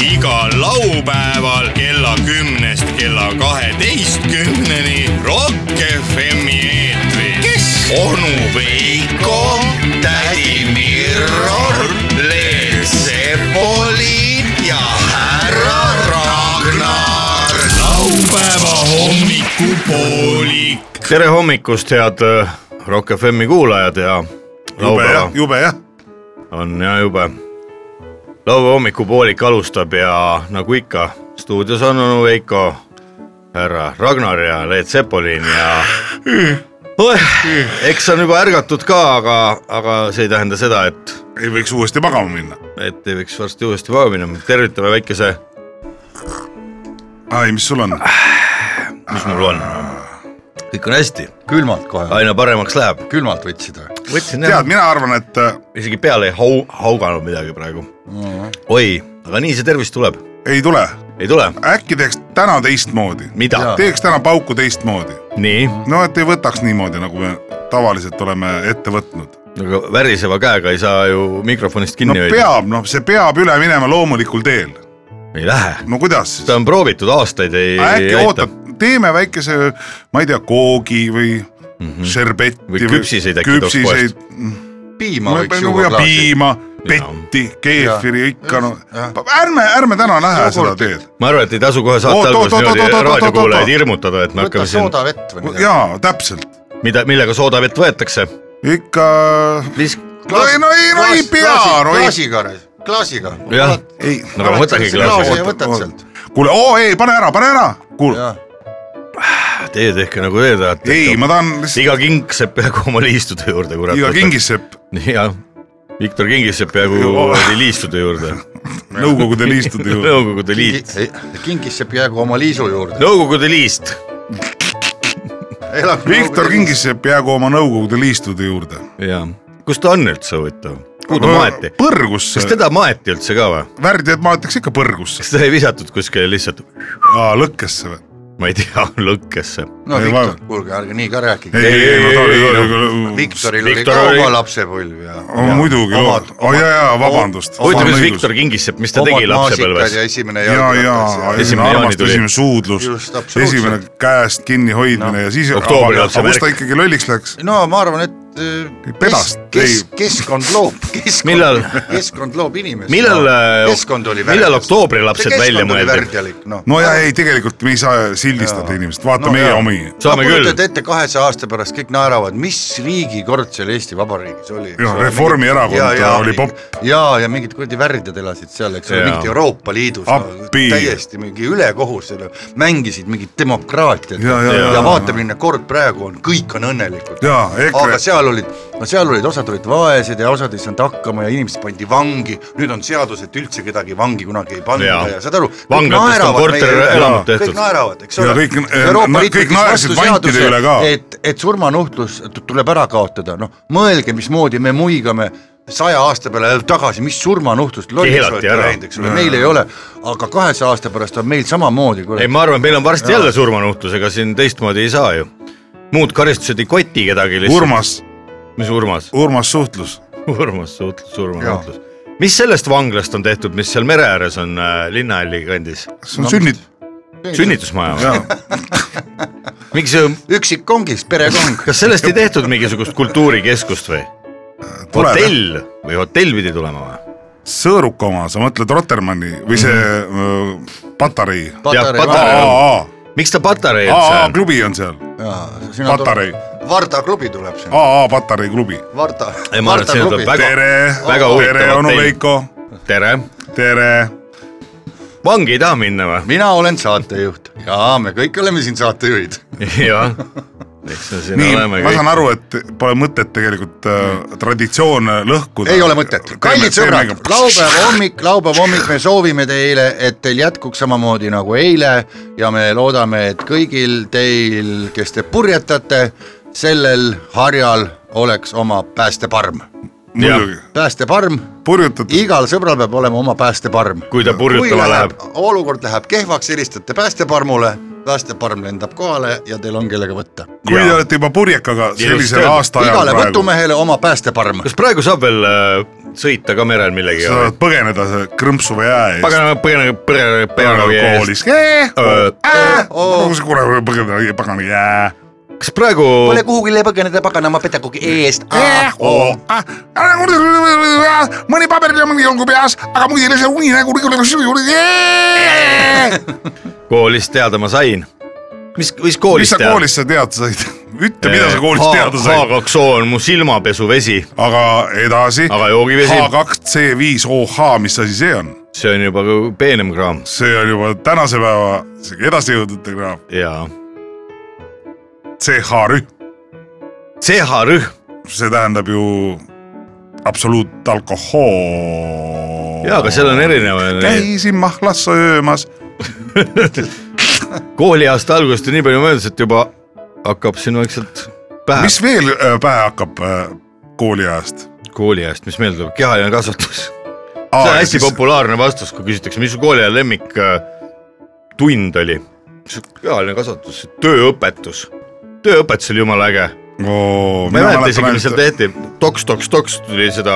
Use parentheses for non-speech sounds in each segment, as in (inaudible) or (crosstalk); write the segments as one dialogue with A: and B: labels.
A: igal laupäeval kella kümnest kella kaheteistkümneni Rock FM-i eetris . kes ? onu Veiko , tädi Mirror , Leel Sepoli ja härra Ragnar . laupäeva hommikupoolik .
B: tere hommikust , head äh, Rock FM-i kuulajad ja
C: jube jah
B: laupäeva ,
C: jube jah .
B: on ja jube . laupäeva hommikupoolik alustab ja nagu ikka , stuudios on onu Veiko , härra Ragnar ja Leet Sepolin ja Oeh, eks on juba ärgatud ka , aga , aga see ei tähenda seda , et ,
C: ei võiks uuesti magama minna .
B: et ei võiks varsti uuesti magama minna , tervitame väikese ,
C: ai , mis sul on ?
B: Ah, mis mul on , kõik on hästi ,
D: külmalt kohe ,
B: aina paremaks läheb .
D: külmalt võtsid või ?
B: võtsin jah
C: tead ,, mina arvan , et äh,
B: isegi peale ei hau- , hauganud midagi praegu oi , aga nii see tervis tuleb ,
C: ei tule ,
B: ei tule ,
C: äkki teeks täna teistmoodi ,
B: mida
D: Jaa. ?
C: teeks täna pauku teistmoodi ,
B: nii ,
C: no et ei võtaks niimoodi , nagu me tavaliselt oleme ette võtnud .
B: aga väriseva käega ei saa ju mikrofonist
C: no
B: kinni hoida .
C: peab , noh , see peab üle minema loomulikul teel .
B: ei lähe ,
C: no kuidas siis
B: seda ? on proovitud aastaid , ei , ei
C: äkki ootad , teeme väikese , ma ei tea , koogi või mm -hmm. šerbeti
B: Mhm. Või küpsiseid äkki tooks
C: küpsiseid ,
D: piima võiks juua
C: ja
D: klaasi .
C: piima , petti , keefiri ikka no
D: Jah. ,
C: ärme , ärme täna lähe seda teed .
B: ma arvan , et ei tasu kohe
C: Oot,
B: saate
C: oot,
B: alguses
C: oot, oot, oot,
B: niimoodi
C: oot, oot,
B: raadiokuulajaid
C: oot.
B: hirmutada , et me
D: võta
B: hakkame siin ,
D: soodavett või midagi .
C: jaa , täpselt ,
B: mida , millega soodavett võetakse ?
C: ikka .
B: visk- ,
C: no ei , no ei , no ei pea , no ei .
D: klaasiga , klaasiga .
B: jah ,
C: ei ,
B: no aga võtage
D: klaasi
B: klaasi ,
D: ja võtad sealt .
C: kuule , oo ei , pane ära , pane ära , kuule ,
B: teie tehke nagu te tahate .
C: ei , ma tahan lihtsalt ,
B: iga king saab peaaegu oma liistude juurde , kurat .
C: iga . kingissepp ,
B: jah , Viktor Kingis saab peaaegu
C: Joo.
B: liistude
C: (laughs)
B: juurde ,
C: Nõukogude liistude juurde .
B: Nõukogude Liit ,
D: kingisse peaaegu oma liisu juurde .
B: Nõukogude Liist
C: Viktor . Kingissepp jäägu oma Nõukogude liistude juurde .
B: jaa , kus ta on üldse huvitav , kuhu ta maeti ?
C: põrgusse
B: kas , teda maeti üldse ka või ?
C: värdjad maetakse ikka põrgusse ,
B: kas teda ei visatud kuskile lihtsalt ,
C: lõkkesse või ?
B: ma ei tea , lõkkesse ?
D: no
C: Ei,
D: Viktor
C: vaeva- ,
D: kuulge , ärge nii ka rääkige .
C: ei , ei , no ta oli , ta
B: ei,
C: oli küll .
D: Viktoril oli
B: Viktor
D: ka
B: oli-
D: oma lapsepõlv ja .
C: muidugi ,
D: omad-
C: oi jaa , jaa , vabandust .
B: huvitav , kuidas Viktor Kingissepp , mis ta tegi lapsepõlves
D: ja ? esimene
C: ja , ja
D: jalgratas
B: Esimene
C: esimene
B: jaanituli.
C: armastus , esimene suudlus
D: Just, , absoluutselt.
C: esimene käest kinni hoidmine no. ja siis .
B: Oktoobri lapse
C: kus ta
B: värk.
C: ikkagi lolliks läks ?
D: no ma arvan , et äh,
C: Pedast,
D: kes,
C: ei.
D: kes, keskkond
C: (laughs)
D: loob , keskkond ,
B: Millal-
D: keskkond loob inimest .
B: millal ,
D: keskkond oli
B: millal oktoobri lapsed välja mõeldi ?
D: värdjalik , noh .
C: no ja ei , tegelikult me ei saa sildistada inimest , vaata
D: No
C: no, meie
D: jaa.
C: ja. omi .
B: saame küll ,
D: kujutad ette kahesaja aasta pärast kõik naeravad , mis riigikord seal Eesti Vabariigis oli .
C: Jah, Reformierakond oli popp. .
D: ja , ja mingid kuradi värdjad elasid seal , eks ole ,
B: Jaa.
D: mingid Euroopa Liidus
C: Appi. .
D: täiesti mingi ülekohus , mängisid mingit demokraatiat
C: Ja, ja, ja.
D: ja vaata , milline kord praegu on , kõik on õnnelikud .
C: jaa , EKRE
D: aga , seal olid , no seal olid , osad olid vaesed ja osad ei saanud hakkama ja inimesed pandi vangi , nüüd on seadus , et üldse kedagi vangi kunagi ei panda ja,
B: Jaa.
D: ja saad aru .
B: Vanglatest on korterelamud tehtud.
D: kõik naeravad , eks
C: Ja
D: ole .
C: kõik- na- kõik naersid vantide üle ka.
D: et , et surmanuhtlus t- tuleb ära kaotada , noh , mõelge , mismoodi me muigame saja aasta peale tagasi , mis surmanuhtlust
B: Keelati ära.
D: eks ole , meil ei ole , aga kahesaja aasta pärast on meil samamoodi ,
B: ei ,
D: kuule ,
B: ma arvan , meil on varsti jälle surmanuhtlus , ega siin teistmoodi ei saa ju . muud karistused ei koti kedagi lihtsalt .
C: Urmas ,
B: mis Urmas ? (laughs)
C: Urmas suhtlus .
B: Urmas suhtlus , surmanuhtlus . mis sellest vanglast on tehtud , mis seal mere ääres on äh, Linnahalli kandis ?
C: see on sünnit- ,
B: sünnitusmaja või ?
C: jaa ,
B: miks see
D: üksikkongis perekong .
B: (laughs) kas sellest ei tehtud mingisugust kultuurikeskust või ?
C: tuleb
B: hotell või hotell pidi tulema või ?
C: Sõõruka oma , sa mõtled Rotermanni või see mm -hmm. Patarei ?
B: Patarei.
C: aa ,
B: miks ta Patarei on
C: aa ,
B: seal ?
C: klubi on seal , Patarei.
D: Patarei . Varda klubi tuleb sinna ,
C: aa , aa , Patarei klubi .
D: Varda .
B: ei , ma arvan , et siin tuleb väga ,
C: tere ,
B: väga
C: tere ,
B: huvitav
C: onu
B: hotell .
C: Veiko ,
B: tere .
C: tere
B: vangi ei taha minna või ?
D: mina olen saatejuht ja me kõik oleme siin saatejuhid .
B: (laughs) jah . eks me siin
C: nii ,
B: oleme
C: ma saan
B: kõik .
C: aru , et pole mõtet tegelikult äh, traditsioone lõhkuda .
D: ei ole mõtet , kallid sõbrad , laupäeva hommik , laupäeva hommik , me soovime teile , et teil jätkuks samamoodi nagu eile ja me loodame , et kõigil teil , kes te purjetate , sellel harjal oleks oma päästeparm .
C: muidugi ,
D: päästeparm ,
C: purjutatud ,
D: igal sõbral peab olema oma päästeparm .
B: kui ta purjutama läheb .,
D: olukord läheb kehvaks , helistate päästeparmule , päästeparm lendab kohale ja teil on kellega võtta .
C: kui te
B: jaa.
C: olete juba purjekaga sellisel
B: just.
C: aasta ajal
D: igale
C: praegu ,
D: võtumehele oma päästeparm
B: kas praegu saab veel äh, saad sõita ka merel
C: sa
B: millegagi
C: saad . põgeneda selle krõmpsuva jää eest .
B: paganama , põgenage , põgenage , põgenage eest .
C: koolis .
B: Öö,
E: oo.
C: kus kurat põgeneda , pagana jää .
B: kas praegu ,
E: Pole kuhugile põgeneda paganama petakugi eest .
D: Ah.
C: Ah. mõni paberil ja mõni olgu peas , aga muidu ei ole see uninägu nagu .
B: koolist teada ma sain ? mis , mis
C: mis
B: koolist
C: sa
B: tead ?
C: koolist sa teada said ? ütle , mida sa koolist teada said .
B: H2O on mu silmapesuvesi ,
C: aga edasi .
B: Aga joogivesi?
C: H2C5OH , mis asi see on ?
B: see on juba ka peenem kraam
C: see on juba tänase päeva edasi jõudnud graaf .
B: ja
C: CH-rühm ,
B: CH-rühm
C: see tähendab ju absoluutalkohool .
B: ja , aga seal on erinevaid Käi... .
C: käisin mahlas söömas .
B: kooliaasta algusest on nii palju möödas , et juba hakkab siin vaikselt pähe mis...
C: mis veel äh, pähe hakkab äh, kooliajast ?
B: kooliajast , mis meelde tuleb , kehaline kasvatus . see on hästi populaarne vastus , kui küsitakse , mis su kooliaja lemmik äh, tund oli . kehaline kasvatus , tööõpetus , tööõpetus oli jumala äge . ma ei mäleta isegi , mis seal tehti , toks , toks , toks tuli seda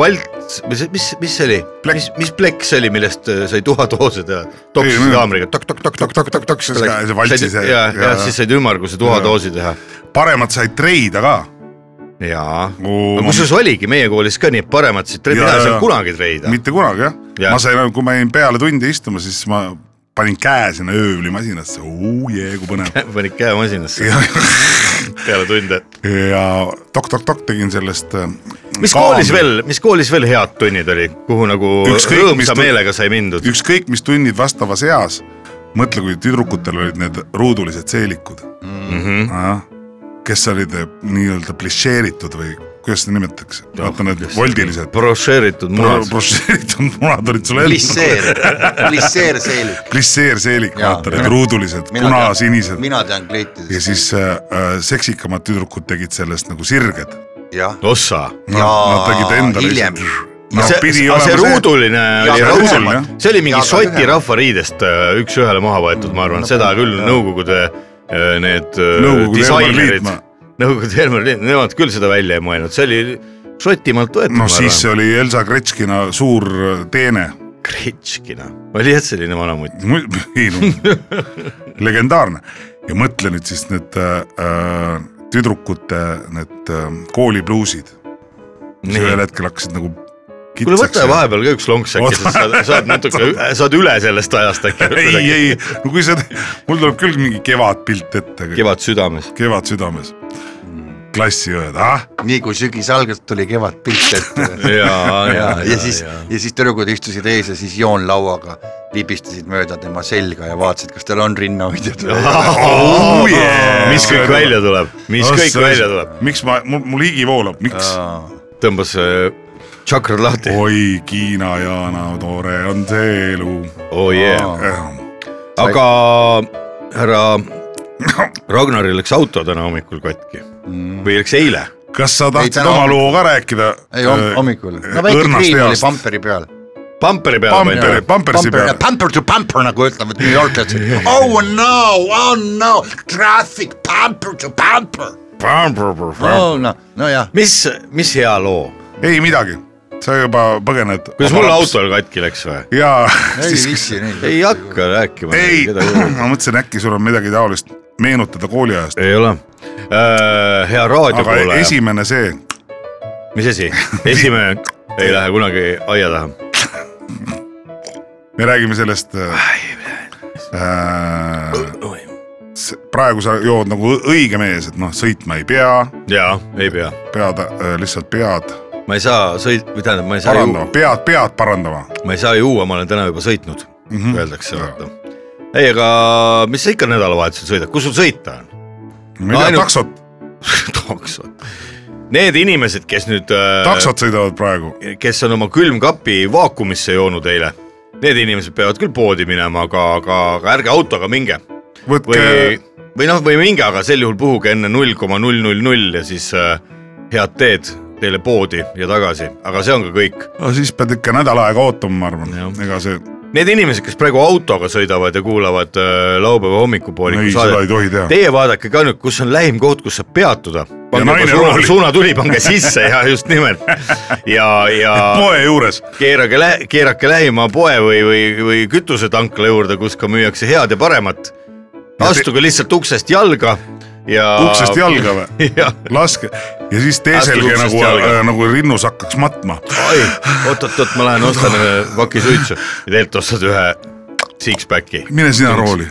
B: valts või see , mis , mis see oli , mis , mis plekk see oli , millest äh, sai tuhatoose teha ,
C: Ei,
B: toks
C: no-
B: kaameriga ,
C: tok-tok-tok-tok-tok-tok , siis ka see valtsi
B: ja ,
C: see .
B: ja, ja siis said ümmarguse tuhadoosi teha .
C: paremad said treida ka .
B: jaa , aga kusjuures oligi meie koolis ka nii , et paremad siit ,
C: Jaa,
B: mina ei
C: jaa.
B: saanud kunagi treida . (laughs)
C: mitte kunagi jah ja.
B: Jah. ,
C: ma sain , kui ma jäin peale tundi istuma , siis ma panin käe sinna öövlimasinasse , oo jee , kui põnev .
B: panid käe masinasse
C: ja,
B: peale tunde .
C: ja tok-tok-tok tegin sellest . äh,
B: mis koolis ? veel , mis koolis veel head tunnid oli , kuhu nagu
C: Ükskõik, mis
B: rõõmsa
C: tund-
B: meelega sai mindud ?
C: ükskõik mis tunnid vastavas eas , mõtle , kui tüdrukutel olid need ruudulised seelikud mm ,
B: Mhm.
C: -hmm. kes olid eh, nii-öelda plišeeritud või kuidas seda nimetatakse , vaata need voldilised .
B: brošeeritud Noh, munad .
C: brošeeritud munad olid sul endal .
E: (laughs) Glisseer , glisseer seelik .
C: plišeerseelik ,
E: Jaa.
C: vaata need ruudulised , punasinised .
E: mina tean
C: ja
E: kleitidest ,
C: siis äh, äh, seksikamad tüdrukud tegid sellest nagu sirged .
E: jah .
B: ossa .
C: Nad tegid endale
E: hiljem .
C: Nad
B: see ,
C: Noh, pidi
B: aga see
C: olema see-
B: ruuduline
E: Jaa,
B: oli
E: see
B: õudsem
C: ruuduline, jah. ,
B: see oli mingi
E: Jaa, aga
B: Šoti
E: ühe-
B: rahvariidest äh, üks-ühele maha võetud , ma arvan , seda küll Nõukogude äh, need äh,
C: Nõukogude Elmar
B: disainerid
C: Liitmaa. ,
B: Nõukogude Elmar Liitmaa , nemad küll seda välja ei mõelnud , see oli Šotimaalt võetud ,
C: no
B: ma
C: siis
B: arvan .
C: oli Elsa Gretškina suur äh, teene .
B: Kretškina , noh. oli jah selline vanamutt ,
C: (laughs) ei no , legendaarne ja mõtle nüüd siis need äh, äh, tüdrukute need äh, koolipluusid , mis
B: Nii.
C: ühel hetkel hakkasid nagu
B: kuule võta
C: ja-
B: vahepeal ka üks lonks äkki , sest saad , saad natuke , saad üle sellest ajast
C: (laughs) ei ,
B: äkki .
C: ei , no kui sa , mul tuleb küll mingi kevadpilt ette ,
B: kevad südames ,
C: kevad südames . klassiõed , ah ,
E: nii kui sügis algas , tuli kevadpilt ette .
B: (laughs) ja , ja
E: (laughs) ja , ja siis , ja siis tüdrukud istusid ees ja siis joonlauaga libistasid mööda tema selga ja vaatasid , kas tal on rinnahoidjad või ei ole .
C: Oh, yeah!
B: mis kõik välja tuleb , mis kõik välja tuleb ,
C: miks ma , mul , mul higi voolab , miks ?
B: tõmbas äh, Oh, tšakrad lahti ,
C: oi , Kiina Jaana , tore on see elu .
B: oh yeah , aga härra Ragnaril läks auto täna hommikul katki või läks eile ,
C: kas sa
E: Ei,
C: tahtsid
E: täna
C: oma
E: hommikul-
C: loo ka rääkida ? Äh,
E: ei , hommikul . no väike
C: õrnast
E: kriim oli
C: heast .
E: pamperi peal .
B: pamperi peale
E: Äh,
C: Pamperi , pampersi peale .
E: Pamper to pamper nagu ütlevad New (laughs) Yorklased . Oh no , oh no , traffic pamper to pamper . no , no , nojah ,
B: mis , mis hea loo ,
C: ei midagi , sa juba põgened .
B: kuidas mul ? autol katki läks või ?
C: jaa ,
E: ei
C: siis ,
E: viitsi neid .
B: ei hakka rääkima .
C: ei , ma mõtlesin , äkki sul on midagi taolist meenutada kooliajast .
B: (laughs) ei ole . hea
C: aga
B: raadiokuulaja esi... ,
C: esimene see ,
B: mis (laughs) asi , esimene ei lähe kunagi aia taha .
C: me räägime sellest äh, . s- praegu sa jood nagu õ- õige mees , et noh , sõitma ei pea ,
B: jaa , ei pea ,
C: pead äh, lihtsalt pead
B: ma ei saa sõit- , või tähendab , ma ei saa
C: parandama
B: juua ,,
C: pead , pead parandama .
B: ma ei saa juua , ma olen täna juba sõitnud mm , -hmm. öeldakse
C: Jaa.
B: vaata . ei , aga mis sa ikka nädalavahetusel sõidad , kus sul sõita on ? (laughs)
C: ma ei tea ,
B: Ainult- äh,
C: taksot ,
B: taksod . Need inimesed , kes nüüd ,
C: taksot sõidavad praegu .
B: kes on oma külmkapi vaakumisse joonud eile , need inimesed peavad küll poodi minema , aga , aga , aga ärge autoga minge
C: võtke
B: või , või noh , või minge , aga sel juhul puhuge enne null koma null null null ja siis äh, head teed teile poodi ja tagasi , aga see on ka kõik .
C: no, , siis pead ikka nädal aega ootama , ma
B: Jah.
C: arvan , ega see ,
B: Need inimesed , kes praegu autoga sõidavad ja kuulavad äh, laupäeva hommikupooliku
C: ei , seda ei tohi teha .
B: teie vaadake ka nüüd , kus on lähim koht , kus saab peatuda ,
C: ja naine
B: suuna,
C: rooli
B: suunatuli pange sisse ja just nimelt ja ,
C: (laughs)
B: ja
C: poe juures .
B: keerage lä- , keerake lähima poe või , või , või kütusetankla juurde , kus ka müüakse head ja paremat .
C: Ja te-
B: astuge lihtsalt uksest jalga ja .
C: uksest jalga või ?
B: (laughs) jah ,
C: laske ja siis teeselge
B: Laske uksest
C: nagu
B: jalga. ,
C: nagu rinnus hakkaks matma .
B: oi , oot-oot-oot , ma lähen ostan ühe paki suitsu ja tegelikult ostad ühe six-packi .
C: mine sina rooli .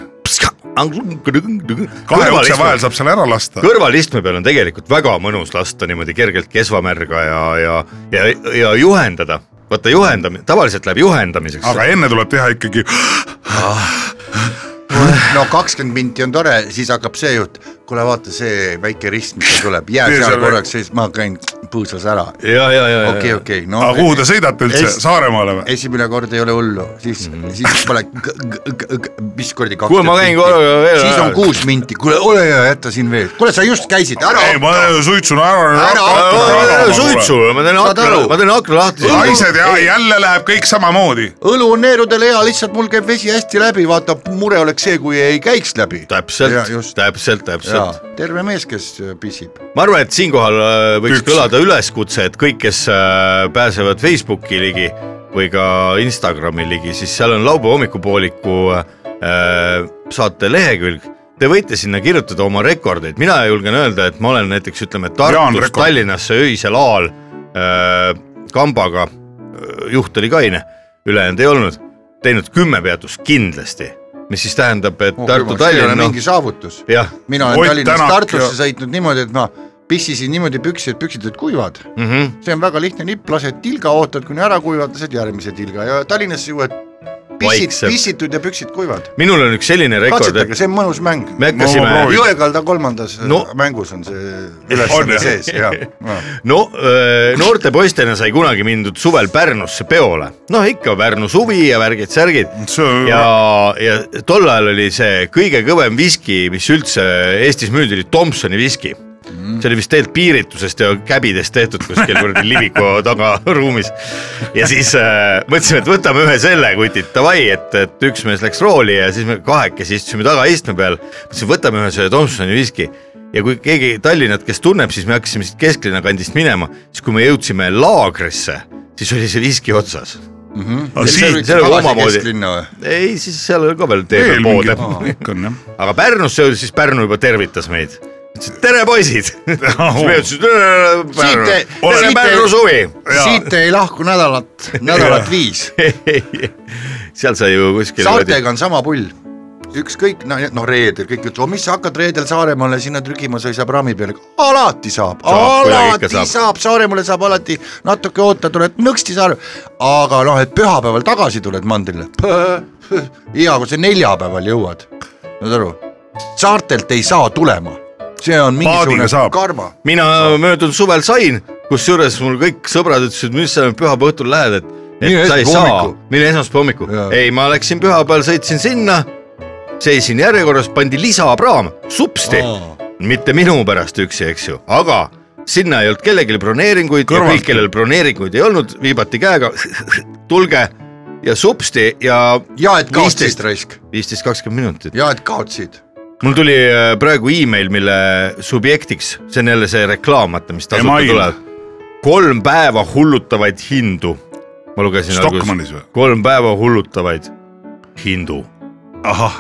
C: kahe ukse vahel saab selle ära lasta .
B: kõrvalistme peal on tegelikult väga mõnus lasta niimoodi kergelt kesvamärga ja , ja , ja , ja juhendada . vaata juhendamine , tavaliselt läheb juhendamiseks .
C: aga enne tuleb teha ikkagi , "Ah,
D: no kakskümmend minti on tore , siis hakkab see jutt , kuule vaata see väike rist , mis seal tuleb , jää
C: Tee
D: seal
C: selle-
D: korraks , siis ma käin puusas ära .
B: ja , ja , ja ,
D: okei ,
B: ja ,
D: okei , no
C: aga kuhu te sõidate üldse ,
D: Es-
C: Saaremaale või ?
D: esimene kord ei ole hullu , siis mm , -hmm. siis pole , mis kuradi kaks .
B: Mhm. Kuule, ma käin korraga veel
D: siis on
B: ära.
D: kuus minti , kuule ole hea , jäta siin veel , kuule sa just käisid , ära
C: ei , ma suitsun ära .
D: Ära hakka.
B: suitsu , ma teen
D: Saad
B: akna
D: aru? ,
B: ma teen akna lahti .
C: naised ja jälle läheb kõik samamoodi .
D: õlu on neerudel hea , lihtsalt mul käib vesi hästi läbi , vaata mure oleks see , kui ei käiks läbi . Ja,
B: täpselt
D: just. ,
B: täpselt , täpselt .
D: terve mees , kes pissib .
B: ma arvan , et siinkohal äh, võiks
C: Üks.
B: kõlada üleskutse , et kõik , kes äh, pääsevad Facebooki ligi või ka Instagrami ligi , siis seal on laupäeva hommikupooliku äh, saate lehekülg . Te võite sinna kirjutada oma rekordeid , mina julgen öelda , et ma olen näiteks ütleme
C: Jaan
B: Tartust
C: rekord.
B: Tallinnasse öisel ajal äh, kambaga , juht oli kaine , ülejäänud ei olnud , teinud kümme peatust kindlasti , mis siis tähendab , et
C: Oh,
D: Oh,
B: Tartu-Tallinn ,
D: mingi
B: noh
D: saavutus .
B: jah ,
D: mina olen
C: Ott
D: Tallinnast
C: Tänak
D: Tartusse
C: ja-
D: sõitnud niimoodi , et ma pissisin niimoodi püksid , püksid olid kuivad .
B: mhm.
D: see on väga lihtne nipp , lased tilga , ootad , kuni ära kuivad , lased järgmise tilga ja Tallinnasse jõuad pissid ,
B: Vaikselt.
D: pissitud ja püksid kuivad .
B: minul on üks selline rekord ,
D: katsetage ,
B: et
D: see on mõnus mäng .
B: me
C: No ma
B: hakkasime
C: proovin.
D: Jõekalda kolmandas
B: No-
D: no. mängus
B: (laughs)
D: on see
C: On, jah?
D: ülesanne sees ja, ja. .
B: no öö, noorte poistena sai kunagi mindud suvel Pärnusse peole , noh ikka Pärnu suvi ja värgid-särgid
C: see on
B: ja , ja tol ajal oli see kõige kõvem viski , mis üldse Eestis müüdi , oli Tomsoni viski . see oli vist tegelikult piiritusest ja käbidest tehtud kuskil kuradi Liviku tagaruumis . ja siis äh, mõtlesime , et võtame ühe selle kutid , davai , et , et üks mees läks rooli ja siis me kahekesi istusime tagaistme peal , mõtlesime , võtame ühe selle Tomsoni viski ja kui keegi Tallinnat , kes tunneb , siis me hakkasime siit kesklinna kandist minema , siis kui me jõudsime laagrisse , siis oli see viski otsas .
C: aga siit
B: see on nagu omamoodi-
D: kesklinna või ?
B: ei , siis seal oli ka veel tee
C: veel
B: peal
C: mingi
B: poode .
C: kõik on jah .
B: aga Pärnusse jõudis , siis Pärnu juba tervitas meid . ütles , et tere poisid . (laughs) siis me ütlesime , et
D: Siit
B: tere
D: ei- ,
B: tere
D: siit
B: Pärnu
D: ei-
B: suvi . (laughs)
D: siit ei lahku nädalat , nädalat viis .
B: seal sai ju kuskil .
D: saartega on sama pull . ükskõik , no no reedel kõik ütlevad , mis sa hakkad reedel Saaremaale sinna trügima , sa ei saa praami peale . alati saab,
B: Saab, kuidagi ikka
D: alati
B: saab.
D: saab, saab. , Saaremaale saab alati natuke oota , tuled nõksti Saare . aga noh , et pühapäeval tagasi tuled mandrile . (laughs) hea , kui sa neljapäeval jõuad , saad aru , saartelt ei saa tulema , see
C: Paadiga
D: on mingisugune
C: saab.
D: karma .
B: mina möödunud suvel sain , kusjuures mul kõik sõbrad ütlesid , mis sa nüüd pühapäeva õhtul lähed , et ,
D: Mine
B: et sa ei
D: esmaspäeva
B: saa
D: hommikul. ,
B: mine esmaspäeva hommikul
D: Jaa. .
B: ei , ma läksin pühapäeval , sõitsin sinna , seisin järjekorras , pandi lisapraam , supsti
D: Aa. .
B: mitte minu pärast üksi , eks ju , aga sinna ei olnud kellelgi broneeringuid ja
C: Kõrvalt.
B: kõik , kellel broneeringuid ei olnud , viibati käega , tulge ja supsti ja
D: ja et kaotsid
B: 15.
D: raisk ,
B: viisteist , kakskümmend minutit .
D: ja et kaotsid .
B: mul tuli äh, praegu email , mille subjektiks , see on jälle see reklaam , vaata , mis tasuta
C: Email.
B: tuleb . kolm päeva hullutavaid hindu . ma lugesin
C: Stockmannis või ?
B: kolm päeva hullutavaid
C: (laughs)
B: hindu .
C: ahah ,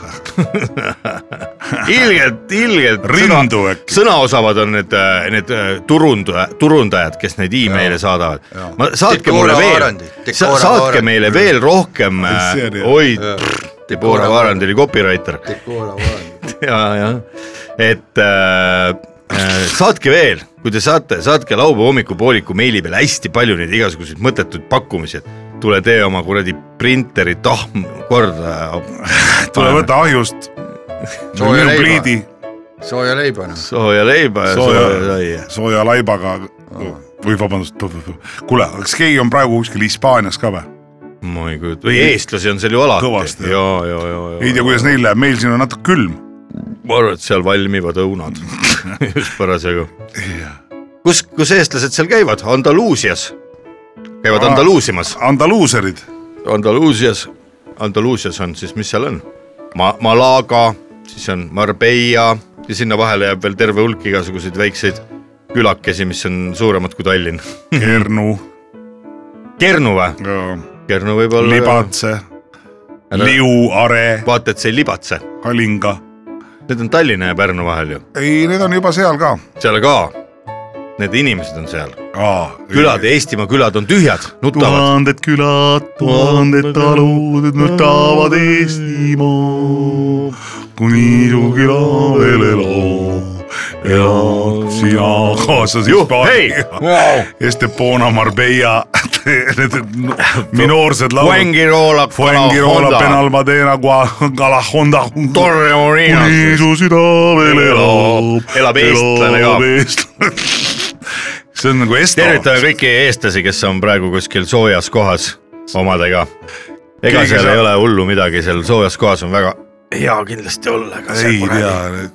B: ilgelt , ilgelt .
C: rindu äkki .
B: sõnaosavad on need , need äh, turund- , turundajad , kes neid email'e saadavad . ma , saatke mulle
D: Dekora
B: veel
D: Vaarandi, , Dekora
B: saatke
D: Vaarandi.
B: meile veel rohkem äh,
C: Ai, see on , hea.
B: oi ,
D: Dekora
B: Debora Vaarand oli copywriter (laughs) ja , jah , et äh, äh, saatke veel , kui te saate , saatke laupäeva hommikupooliku meili peale hästi palju neid igasuguseid mõttetuid pakkumisi , et tule tee oma kuradi printeri tahm korda .
C: tule . võta ahjust ,
D: sooja
C: minu
D: leiba ,
C: pliidi ,
D: sooja leiba noh .
B: (laughs) sooja leiba ja
C: Sooja-
B: sooja saia .
C: sooja laibaga või vabandust , kuule , kas keegi on praegu kuskil Hispaanias ka või ?
B: ma ei kujuta , või eestlasi on seal ju
C: Kõvasti.
B: alati . ja , ja , ja ,
C: ei tea ,
B: ja .
C: kuidas neil läheb , meil siin on natuke külm .
B: ma arvan , et seal valmivad
C: (laughs)
B: õunad just parasjagu . kus , kus eestlased seal käivad , Andaluusias , käivad
C: Aa.
B: Andaluusimas .
D: (laughs)
C: Andaluuserid ,
B: Andaluusias , Andaluusias on siis , mis seal on ? Ma- , Malaga , siis on Marbella ja sinna vahele jääb veel terve hulk igasuguseid väikseid külakesi , mis on suuremad kui Tallinn .
C: Kernu
B: Kernu või ?
C: ja
B: Kernu võib olla .
C: Libatse , Liuare ,
B: vaata , et see ei libatse ,
C: Kalinga .
B: need on Tallinna ja Pärnu vahel ju ,
C: ei , need on juba seal ka .
B: seal ka . Need inimesed on seal , külad , Eestimaa külad on tühjad , nutavad .
C: tuhanded külad , tuhanded talud nutavad Eestimaa , kuni su küla veel elab ja sina kaasa siis
B: hei ,
C: Estepona , Marbella , need nu- minoorsed laulud .
B: Fuengiroola ,
C: Fuengirola , Penal Madena , Galahonda .
B: Torre
C: kuni
B: Morinas ,
C: su süda veel elab .
B: Elab eestlane ka.
C: ka . (laughs) see on nagu Esto .
B: tervitame kõiki eestlasi , kes on praegu kuskil soojas kohas omadega . ega
C: Keegi
B: seal
C: saab-
B: ei ole hullu midagi , seal soojas kohas on väga hea kindlasti olla , aga
C: ei tea ,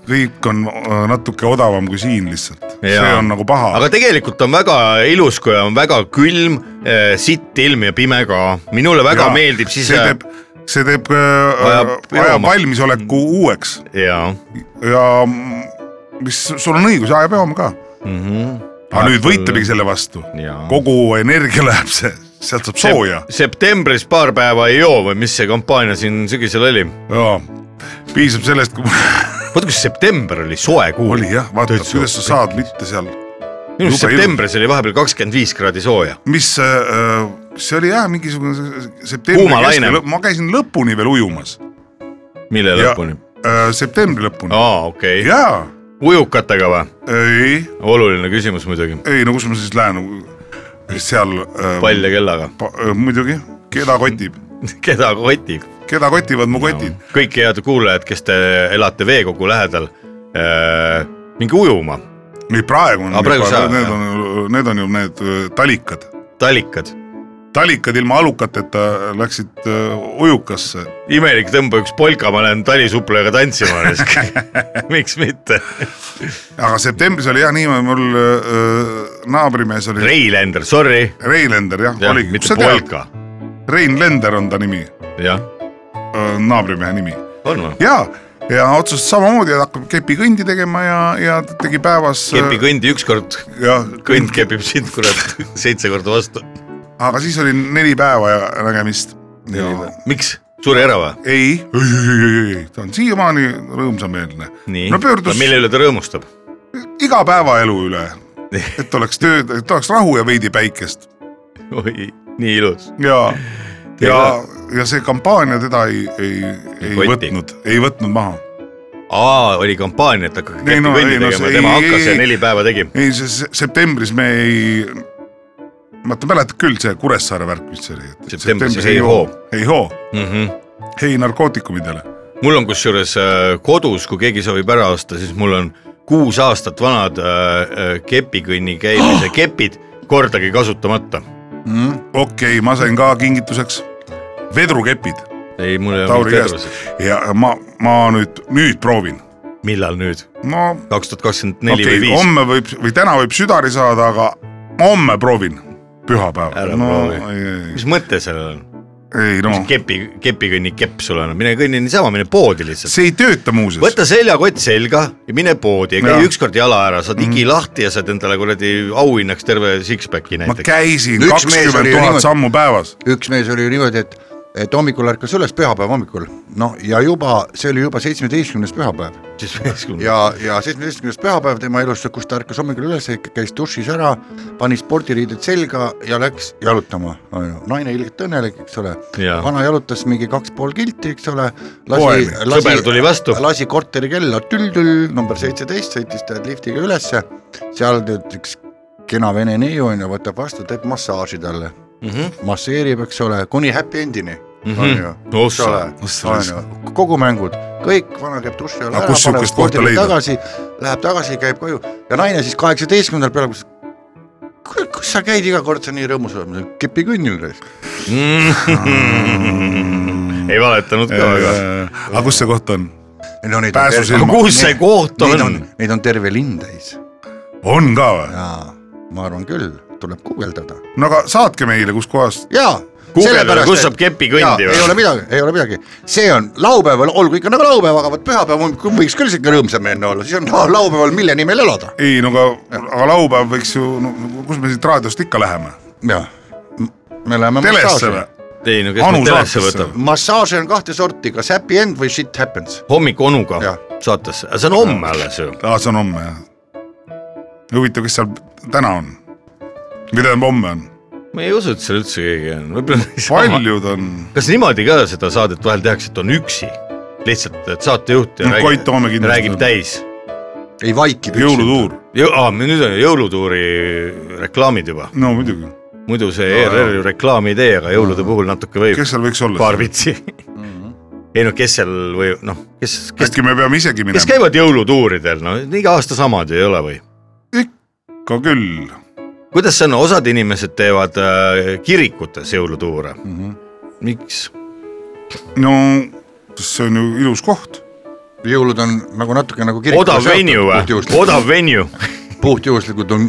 C: kõik on äh, natuke odavam kui siin lihtsalt . see
B: Jaa.
C: on nagu paha .
B: aga tegelikult on väga ilus , kui on väga külm , sitt ilm ja pime ka . minule väga
C: Jaa.
B: meeldib siis . äh,
C: see teeb , see teeb
B: Ajab
C: äh, , ajab
B: veoma.
C: valmisoleku uueks
B: jaa
C: ja mm, mis , sul on õigus , ajab veoma ka .
B: mm . -hmm.
C: aga nüüd võitlemegi selle vastu .
B: Jaa.
C: kogu energia läheb see , sealt saab sooja .
B: septembris paar päeva ei joo või mis see kampaania siin sügisel oli ?
C: jaa , piisab sellest , kui
B: vaata , kas september oli soe kuu .
C: (laughs) oli jah , vaata , kuidas sa saad mitte seal ,
B: minu arust
C: jube ilus.
B: septembris oli vahepeal kakskümmend viis kraadi sooja .
C: mis äh, , see oli jah , mingisugune septembri
B: Kuumalaine.
C: keskel , ma käisin lõpuni veel ujumas ,
B: mille
C: Ja- äh,
B: lõpuni ? Oh.
C: septembri lõpuni .
B: aa , okei okay. .
C: jaa ,
B: ujukatega või ?
C: ei ,
B: oluline küsimus muidugi .
C: ei no kus ma siis lähen , seal äh,
B: pall ja kellaga .
C: pa, äh, muidugi , keda kotib ,
B: (laughs) keda kotib ?
C: keda kotivad mu kotid .
B: kõik head kuulajad , kes te elate veekogu lähedal , minge ujuma .
C: ei praegu on
B: Aa, , praegu seal,
C: need
B: jah.
C: on , need on ju need äh, talikad
B: talikad .
C: talikad ilma alukateta läksid äh, ujukasse
B: imelik , tõmba üks polka , ma lähen talisuplajaga tantsima . (laughs) miks mitte ?
C: aga septembris oli jah niimoodi , mul äh, naabrimees oli Rein,
B: Rein Lender , sorry .
C: Rein Lender jah ja, , oligi ,
B: mitte polka .
C: Rein Lender on ta nimi ,
B: jah ,
C: naabrimehe nimi
B: on või ?
C: ja , ja otsustas samamoodi , et hakkab kepikõndi tegema ja , ja ta tegi päevas .
B: kepi . kõndi ükskord ,
C: jah ,
B: kõnd kepib sind kurat seitse korda vastu .
C: aga siis oli neli päeva ja nägemist .
B: miks , suri ära või ?
C: ei , ei , ei , ei , ei , ta on siiamaani rõõmsameelne .
B: nii
C: no , pöördus
B: mille üle ta rõõmustab ?
C: igapäevaelu
B: (laughs)
C: üle , et oleks tööd , et oleks rahu ja veidi päikest
B: oi , nii ilus .
C: ja , ja
B: Teile- ,
C: ja see kampaania teda ei , ei , ei
B: Kotti.
C: võtnud , ei võtnud maha .
B: aa , oli kampaania , et hakake
C: Ei,
B: kepi
C: no,
B: kõndi
C: ei, no
B: tegema ,
C: see-
B: tema
C: ei, ei,
B: hakkas ja
C: ei.
B: neli päeva tegi .
C: ei , see se- septembris me ei , vaata mäletad küll see Kuressaare värk , mis see oli .
B: Septembris ei hoo. .
C: ei hoo ,
B: mm . -hmm.
C: ei narkootikumidele .
B: mul on kusjuures äh, kodus , kui keegi soovib ära osta , siis mul on kuus aastat vanad äh, äh, kepikõnni
C: (gasps)
B: käimise kepid kordagi kasutamata .
C: okei okay, , ma sain ka kingituseks vedrukepid
B: ei , mul ei ole
C: Tauri
B: mitte
C: käest
B: arvamust .
C: ja ma , ma nüüd , nüüd proovin .
B: millal nüüd ?
C: no
B: kaks tuhat kakskümmend neli
C: okei
B: või
C: okay, ,
B: viis ?
C: homme võib või täna võib südari saada , aga homme proovin , pühapäeval
B: Ära .
C: no
B: proovi.
C: ei , ei ,
B: mis mõte sellel on ?
C: ei no
B: kepi , kepikõnni kepp sul on , mine kõnni niisama , mine poodi lihtsalt .
C: see ei tööta muuseas .
B: võta seljakott selga ja mine poodi ja
C: Jaa.
B: käi ükskord jala ära , saad
C: Mhm.
B: higi lahti ja saad endale kuradi auhinnaks terve six-packi
C: ma
B: näiteks .
C: käisin
D: Üks mees oli
C: kakskümmend
D: ju
C: tuhat
D: niimoodi-
C: sammu päevas .
D: üks mees oli ju niimoodi , et , et hommikul ärkas üles , pühapäeva hommikul , no ja juba , see oli juba seitsmeteistkümnes pühapäev
B: ja
D: ja , ja seitsmeteistkümnes pühapäev tema elus , kus ta ärkas hommikul üles , käis dušis ära , pani spordiriided selga ja läks jalutama , on ju , naine ilgelt õnnelik , eks ole
B: Jaa.
D: vana jalutas mingi kaks pool kilti , eks ole ,
C: Poeni.
D: lasi ,
B: Sõber tuli vastu.
D: lasi korteri kella tüll-tüll number seitseteist , sõitis ta liftiga ülesse , seal nüüd üks kena vene neiu on ju , võtab vastu , teeb massaaži talle
B: mm -hmm.
D: masseerib , eks ole , kuni happy endini mm .
B: Mhm.
D: -hmm. eks
B: Ossa,
D: ole ,
C: ossa,
D: on ju , kogu mängud , kõik , vana käib duši all
C: Aga
D: ära ,
C: kus
D: paneb
C: sihukest kohta
D: spordile
C: leida?
D: tagasi , läheb tagasi , käib koju ja naine siis kaheksateistkümnendal peale , kus kuule , kus sa käid iga kord , sa nii rõõmus oled , kepi kõnnil raisk .
B: ei valetanud ka väga .
C: Äh, aga kus see koht on ?
D: no neid
C: Pääsu
D: terve-
C: silma. Aga
B: kus see
D: Neid-
B: koht
D: neid
B: on?
D: Neid on terve linn täis
C: on ka või ?
D: jaa , ma arvan küll , tuleb guugeldada
C: no aga saatke meile , kus kohas ,
D: jaa ,
B: guugeldada ,
D: Sellepärast,
B: kus
D: et-
B: saab kepi
D: jaa,
B: kõndi
D: ei ole midagi , ei ole midagi , see on laupäeval , olgu ikka nagu laupäev , aga vot pühapäev hommikul võiks küll siuke rõõmsam enne olla , siis on la- laupäeval , mille nimel elada .
C: ei no aga , aga laupäev võiks ju , no kus me siit raadiost ikka läheme ,
D: jah , me läheme
C: telesse või
D: massaaži .,
B: ei no kes
C: Anu
B: nüüd telesse
C: saatesse.
B: võtab ,
D: massaaži on kahte sorti , kas happy end või shit happens .
B: hommik onuga
D: Jah.
B: saatesse , aga see on homme alles ju .
C: aa , see on homme jah . huvitav , kes seal täna on ? või tähendab , homme on ,
B: ma ei usu , et seal üldse keegi on , võib-olla .
C: paljud on ,
B: kas niimoodi ka seda saadet vahel tehakse , et on üksi , lihtsalt et saatejuht ja
C: No Koit Toome kindlasti
B: räägib
C: on.
B: täis .
D: ei vaikib .
C: jõulutuur ,
B: aa , nüüd on jõulutuuri reklaamid juba ,
C: no muidugi ,
B: muidu see ERR ju reklaami ei tee , aga jõulude puhul natuke võib ,
C: Mm. kes seal võiks olla
B: paar ? vitsi . ei no kes seal või noh , kes , kes ,
C: äkki me peame isegi
B: kes
C: minema ?
B: käivad jõulutuuridel , no iga aasta samad ju ei ole või ?
C: ikka küll ,
B: kuidas see on , osad inimesed teevad äh, kirikutes jõulutuure mm .
C: Mm-hmm.
B: -hmm. miks ?
C: no see on ju ilus koht ,
D: jõulud on nagu natuke nagu
B: odav venue või ? odav venue
D: puhtjuhuslikult on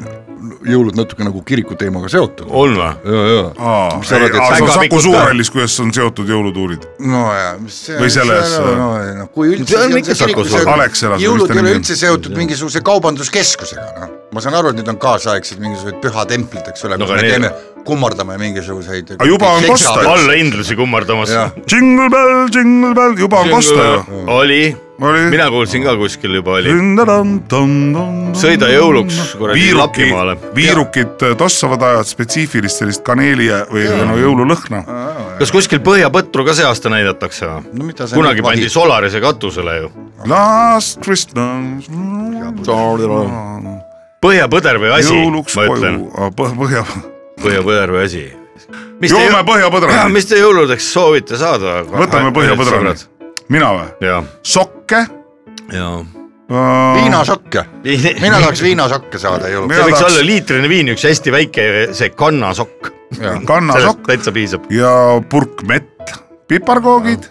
D: jõulud natuke nagu kiriku teemaga seotud .
B: on või ?
D: ja , ja ,
C: aa ,
D: Mis sa arvad, et
C: see on Saku
B: Päkapikud ka?
C: Suurhallis , kuidas on seotud jõulutuurid ,
D: no ja , mis see
C: Või selles-
D: no, no, kui üldse
B: See on ikka Saku Suurhallis.
C: Alexelas või mis
D: jõulud
C: ta
D: ei ole
C: nimi on?
D: üldse seotud mingisuguse kaubanduskeskusega , noh . ma saan aru , et need on kaasaegsed mingisugused pühatemplid , eks ole
B: No
D: no, ,
B: aga
D: kus me
B: need-
D: teeme , kummardame mingisuguseid .
C: Aga juba on kosta.
B: allahindlusi kummardamas .
D: Jah.
C: Jingle bell , jingle bell , juba on kosta ju .
B: oli ,
C: Oli.
B: mina kuulsin ka kuskil juba oli . Sõida
C: sõida
B: jõuluks kuradi Lapimaale.
C: viirukid äh, tossavad ajavad spetsiifilist sellist kaneeli ja- või no jõululõhna .
B: kas kuskil Põhjapõtru ka see aasta näidatakse või ?
D: no mida see
B: kunagi pandi Solarise katusele ju .
C: Last Christmas .
B: põhjapõder või asi ,
C: jõuluks
B: ma ütlen ,
C: koju , põhja ,
B: põhjapõder või asi . mis
C: joome
B: te ,
C: põhjapõdra ,
B: (clears throat) mis te jõuludeks soovite saada ?
C: võtame põhjapõdra .. mina või ?
B: ja ,
C: sokke . äh,
B: ja .
D: viinasokke , mina tahaks viinasokke saada
B: (laughs) see
C: Mina
D: jõuludeks .
B: võiks
C: tahaks-
B: olla liitrine viin , üks hästi väike see kannasokk . sellest
C: kannasokk
B: täitsa piisab .
C: ja purk mett , piparkoogid .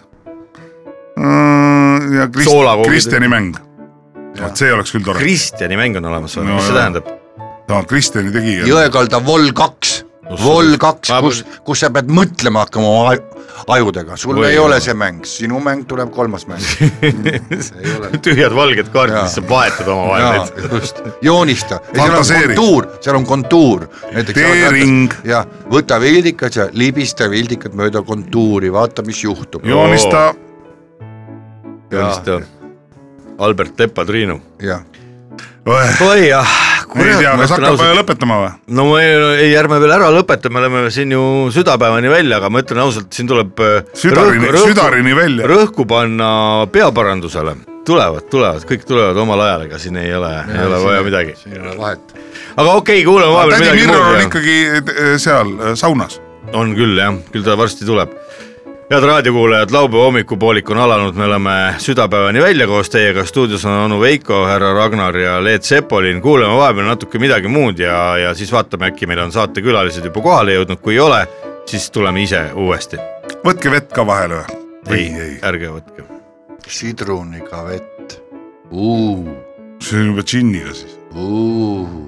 C: ja Krist-
B: Soolakoogid.
C: Kristjani mäng . vot see oleks küll tore .
B: Kristjani mäng on olemas või
C: No
B: no, , mis see
C: jah.
B: tähendab ? (laughs)
C: ta on Kristjani tegija .
D: Jõekalda Vol kaks , Vol kaks
B: Ma- ,
D: kus , kus sa pead mõtlema hakkama oma aju- ajudega , sul
B: Või-
D: ei ole see mäng , sinu mäng tuleb kolmas
B: (laughs)
D: mäng . ei ole .
B: tühjad valged kaardid ,
D: Jaa.
B: mis sa vahetad omavahel
D: jaa
B: neid .,
D: just , joonista , seal on
C: Fantaseeri.
D: kontuur , seal on kontuur .
C: Teering.
D: jah , võta vildikas ja libista vildikat mööda kontuuri , vaata , mis juhtub .
C: joonista
B: joonista Albert Teppa , Triinu .
D: jah ,
C: Õeh,
B: oi jah ,
C: ei tea ,
B: kurat ,
C: kas
B: ma ütlen
C: hakkab äh,
B: ausalt ,
C: lõpetama või ?
B: no ma ei , ei ärme veel ära lõpeta , me oleme siin ju südapäevani välja , aga ma ütlen ausalt , siin tuleb äh,
C: südarini , südarini välja .
B: rõhku panna peaparandusele . tulevad , tulevad , kõik tulevad omal ajal , ega siin ei ole , ei ole vaja midagi .
D: siin ei ole vahet .
B: aga okei okay, , kuulame vahepeal
C: tädi
B: midagi
C: Mirror on
B: muud .
C: ikkagi äh, seal äh, saunas .
B: on küll jah , küll ta varsti tuleb . head raadiokuulajad , laupäeva hommikupoolik on alanud , me oleme südapäevani välja koos teiega , stuudios on onu Veiko , härra Ragnar ja Leet Sepolin , kuulame vahepeal natuke midagi muud ja , ja siis vaatame , äkki meil on saatekülalised juba kohale jõudnud , kui ei ole , siis tuleme ise uuesti .
C: võtke vett ka vahele või ? või
B: ei
C: ei ?,
B: ärge võtke .
D: sidruniga vett , uu ,
C: see on juba džinniga siis .
D: uu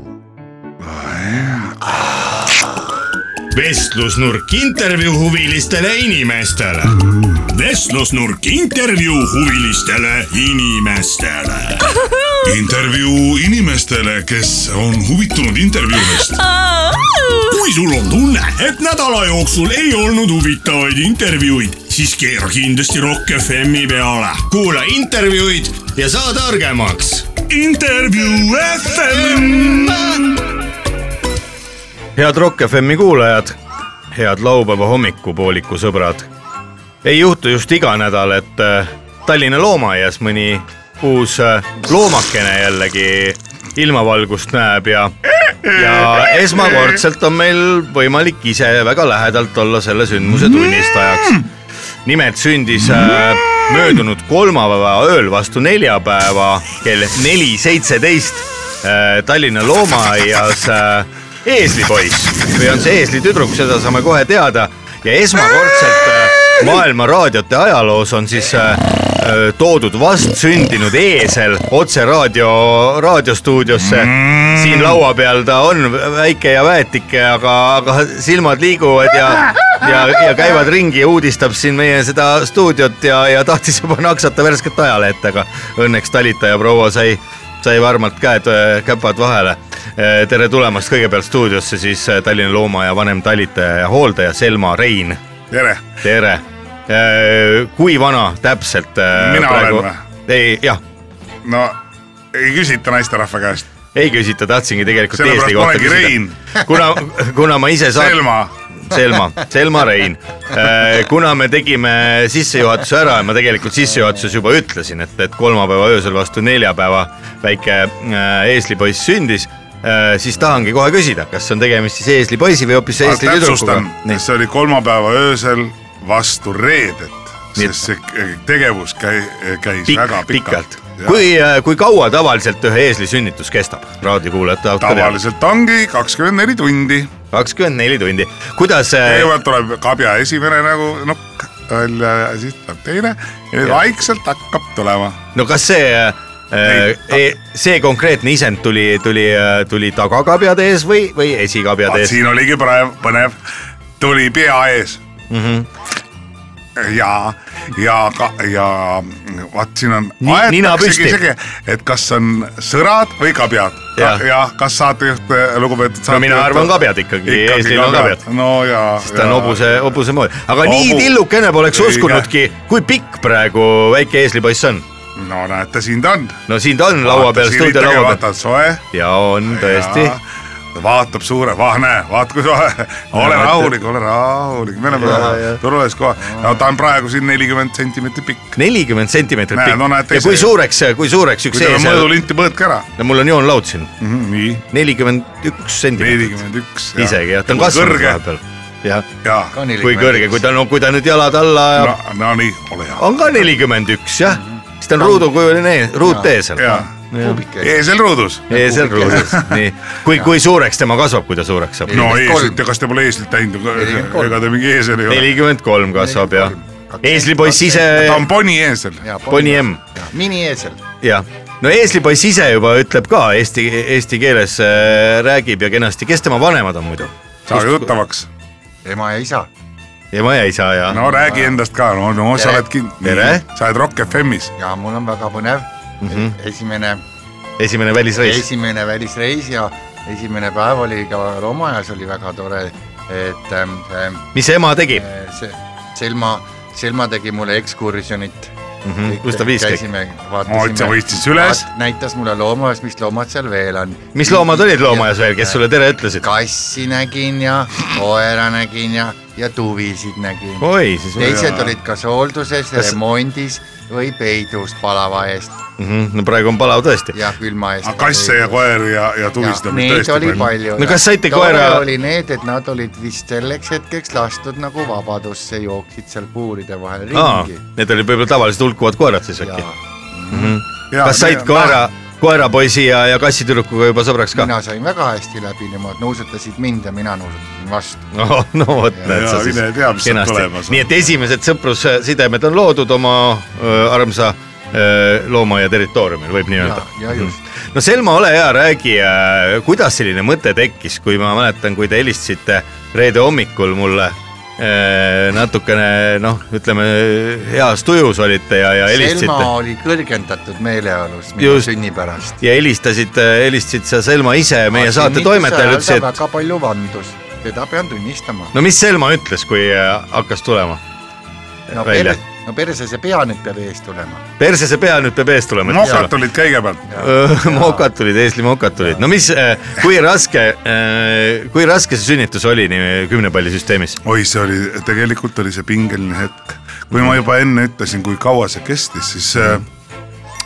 F: vestlusnurk intervjuu huvilistele inimestele . vestlusnurk intervjuu huvilistele inimestele .
C: intervjuu inimestele , kes on huvitunud intervjuudest .
F: kui sul on tunne , et nädala jooksul ei olnud huvitavaid intervjuuid , siis keera kindlasti Rock FM-i peale . kuula intervjuud ja saa targemaks . intervjuu FM .
B: head Rock FM-i kuulajad , head laupäeva hommikupooliku sõbrad . ei juhtu just iga nädal , et äh, Tallinna loomaaias mõni uus äh, loomakene jällegi ilmavalgust näeb ja , ja esmakordselt on meil võimalik ise väga lähedalt olla selle sündmuse tunnistajaks . nimelt sündis äh, möödunud kolmapäeva ööl vastu neljapäeva kell neli seitseteist äh, Tallinna loomaaias äh, eeslipoiss või on see eeslitüdruk , seda saame kohe teada ja esmakordselt äh, maailma raadiote ajaloos on siis äh, äh, toodud vastsündinud eesel otse raadio , raadiostuudiosse .
C: Mm.
B: siin laua peal ta on väike ja väetike , aga , aga silmad liiguvad ja ja , ja käivad ringi ja uudistab siin meie seda stuudiot ja , ja tahtis juba naksata värsket ajalehte , aga õnneks talitaja proua sai , sai varmalt käed , käpad vahele . tere tulemast kõigepealt stuudiosse siis eh, Tallinna loomaaia vanem talitaja ja hooldaja Selma Rein ,
C: tere ,
B: tere . kui vana täpselt ?
C: Mina olen või? ?
B: ei , jah ,
C: no ei küsita naisterahva käest ,
B: ei küsita , tahtsingi tegelikult
C: Sellepärast
B: eesli kohta
C: polegi
B: küsida
C: Rein. .
B: kuna , kuna ma ise saan .
C: Selma ,
B: Selma , Selma Rein . kuna me tegime sissejuhatuse ära ja ma tegelikult sissejuhatuses juba ütlesin , et , et kolmapäeva öösel vastu neljapäeva väike äh, eeslipoiss sündis , siis tahangi kohe küsida , kas on tegemist siis eeslipoisi või hoopis eesli tüdrukuga
C: täpsustan ,. see oli kolmapäeva öösel vastu reedet ,
B: Nii et-
C: sest see k- tegevus käi- , käis
B: pikk
C: väga ,
B: pikalt .
C: pikalt, pikalt. .
B: kui , kui kaua tavaliselt ühe eesli sünnitus kestab ? raadiokuulajate jaoks ka teada .
C: tavaliselt ongi kakskümmend neli tundi ,
B: Eh. kakskümmend neli tundi . kuidas , äh,
C: kõigepealt tuleb kabja esimene nagu nokk välja ja siis tuleb teine ja nüüd
B: Jah.
C: vaikselt hakkab tulema .
B: no kas see
C: Ei, ta-
B: äh, , see konkreetne isend tuli , tuli , tuli tagakabjade ees või , või esikabjade ees ?
C: siin oligi praegu põnev , tuli pea ees
B: Mhm.
C: mm . -hmm. ja , ja , ja vaat siin on
B: Ni- . nina püsti.
C: et kas on sõrad või kabjad
B: Jah.
C: ja, ja kas saatejuht , lugupeetud
B: no mina arvan kabjad ikkagi , eesliin on kabjad .
C: no ja .
B: ta on hobuse , hobuse moodi , aga Obu. nii
C: Hobu-
B: tillukene poleks
C: Õige.
B: uskunudki , kui pikk praegu väike eeslipoiss on .
C: no näete , siin ta on .
B: no siin ta on laua peal , stuudio laua peal
C: vaatad soe .
B: ja on tõesti .
C: vaatab suure , vah näe , vaat kui soe , ole
B: vaata.
C: rahulik , ole rahulik , me oleme
B: Jaa, jaa.
C: turvalises kohas , no ta on praegu siin nelikümmend sentimeetrit pikk .
B: nelikümmend sentimeetrit
C: Näe,
B: pikk
C: no näete
B: ja kui
C: ise.
B: suureks , kui suureks
C: kui
B: üks
C: teil on
B: ees ,
C: mõõdulinti , mõõtke ära .
B: mul on joonlaud siin ,
C: nii ,
B: nelikümmend üks sentimeetrit
C: nelikümmend üks .
B: isegi jah , ta on kasvanud vahepeal . jah ,
C: jaa ,
B: kui kõrge , kui ta , no kui ta nüüd jalad alla ajab ,
C: no , no nii , ole hea .
B: on ka nelikümmend üks jah , siis ta on ruudukujuline , ruuttee seal
C: jaa ,
E: kuubike .
C: eesel ruudus .
B: eesel ruusus , nii . kui , kui suureks tema kasvab , kui ta suureks saab ?
C: no
E: Nelikümmend kolm.
C: eeslit , kas te pole eeslit näinud ,
E: Nelikümmend kolm.
C: ega ta mingi eesel ei ole .
B: nelikümmend kolm kasvab ja . eeslipoiss ise ,
C: ta on poni eesel .
B: Poni M ,
D: E
E: minieesel .
B: jah . no eeslipoiss ise juba ütleb ka eesti , eesti keeles äh, räägib ja kenasti , kes tema vanemad on muidu ?
C: saa juttavaks .
E: ema ja isa .
B: ema ja isa ja no.
C: no räägi endast ka , no , no sa
E: Tere.
C: oled kin-
B: Ah. Tere. ,
C: sa oled Rock FM-is .
E: ja mul on väga põnev mm .
B: Mhm.
E: -hmm. esimene ,
B: esimene välisreis .
E: esimene välisreis ja esimene päev oli ka loomaaias oli väga tore , et ähm, see
B: mis ema tegi ?
E: see Selma , Selma tegi mulle ekskursionit mm .
B: Mhm, kus ta viis kõik?
E: käisime ,
C: Aa, sa võitsid üles? ,
E: näitas mulle loomaaias , mis loomad seal veel on .
B: mis loomad olid loomaaias veel , kes sulle tere ütlesid ?
E: kassi nägin ja koera nägin ja , ja tuvisid nägin .
B: oi , siis või...
E: teised olid kas hoolduses
B: Oh, Kas-
E: kas... , remondis või peidus palava eest
B: Mhm, no praegu on palav tõesti .
E: ja külma eest .
C: kasse ja koeri ja , ja tulistada
E: ja neid oli . palju .
B: No kas saite koera-
E: oli need , et nad olid vist selleks hetkeks lastud nagu vabadusse , jooksid seal puuride vahel
B: aa
E: ringi .,
B: need olid võib-olla tavaliselt hulkuvad koerad siis äkki .
E: ja
B: kas said
C: noh,
B: koera , koerapoisi ja , ja kassitüdrukuga juba sõbraks ka ?
E: mina sain väga hästi läbi , nemad nuusutasid mind ja mina nuusutasin vastu .
B: no , no vot , näed
C: jaa,
B: sa
C: mine tea, mis
B: siis
C: sealt tulemas on.
B: nii et esimesed sõprussidemed on loodud oma öö, armsa öö, loomaaia territooriumil , võib nii
E: ja
B: öelda .,
E: ja just ,
B: no Selma , ole hea , räägi , kuidas selline mõte tekkis , kui ma mäletan , kui te helistasite reede hommikul mulle öö, natukene noh , ütleme heas tujus olite ja , ja
E: Selma
B: helistasite .
E: oli kõrgendatud meeleolus minu
B: Just.
E: just. sünni pärast .
B: ja helistasid , helistasid sa Selma ise meie saate toimetajale , ütlesid , et
E: väga palju vandus , teda pean tunnistama .
B: no mis Selma ütles , kui äh, hakkas tulema
E: no
B: välja.
E: perse , no perse see pea nüüd peab ees tulema .
B: perse see pea nüüd peab ees tulema .
C: mokad tulid kõigepealt .
B: mokad tulid , eesli mokad tulid , no mis , kui raske , kui raske see sünnitus oli nii kümne palli süsteemis ?
C: oi , see oli , tegelikult oli see pingeline hetk . kui ma juba enne ütlesin , kui kaua see kestis , siis äh,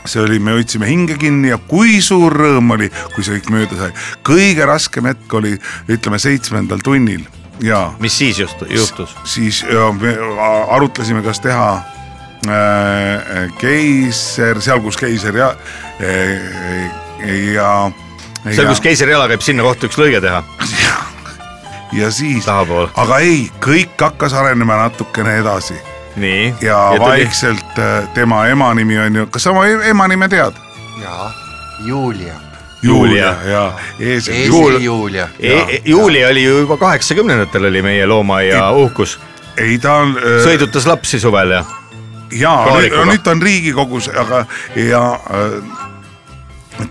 C: see oli , me hoidsime hinge kinni ja kui suur rõõm oli , kui see kõik mööda sai . kõige raskem hetk oli , ütleme seitsmendal tunnil ja
B: mis siis just juhtus ?
C: siis ja, me a- arutlesime , kas teha äh, keiser , seal kus keiser ja , ja .
B: seal , kus keisrijala käib , sinna kohta üks lõige teha ,
C: ja siis ,
B: tahapool .
C: aga ei , kõik hakkas arenema natukene edasi
B: nii .
C: ja, ja vaikselt äh, tema ema nimi on ju , kas sa oma e- ema nime tead ?
E: ja Julia ,
B: Julia.
C: ja Eesel
E: Eesi Julia .
B: E- juuli oli ju juba kaheksakümnendatel oli meie loomaaia uhkus ,
C: ei ta on .
B: sõidutas lapsi suvel ja
C: jaa ,
B: Kaarikuga.
C: nüüd ta on Riigikogus , aga ja äh,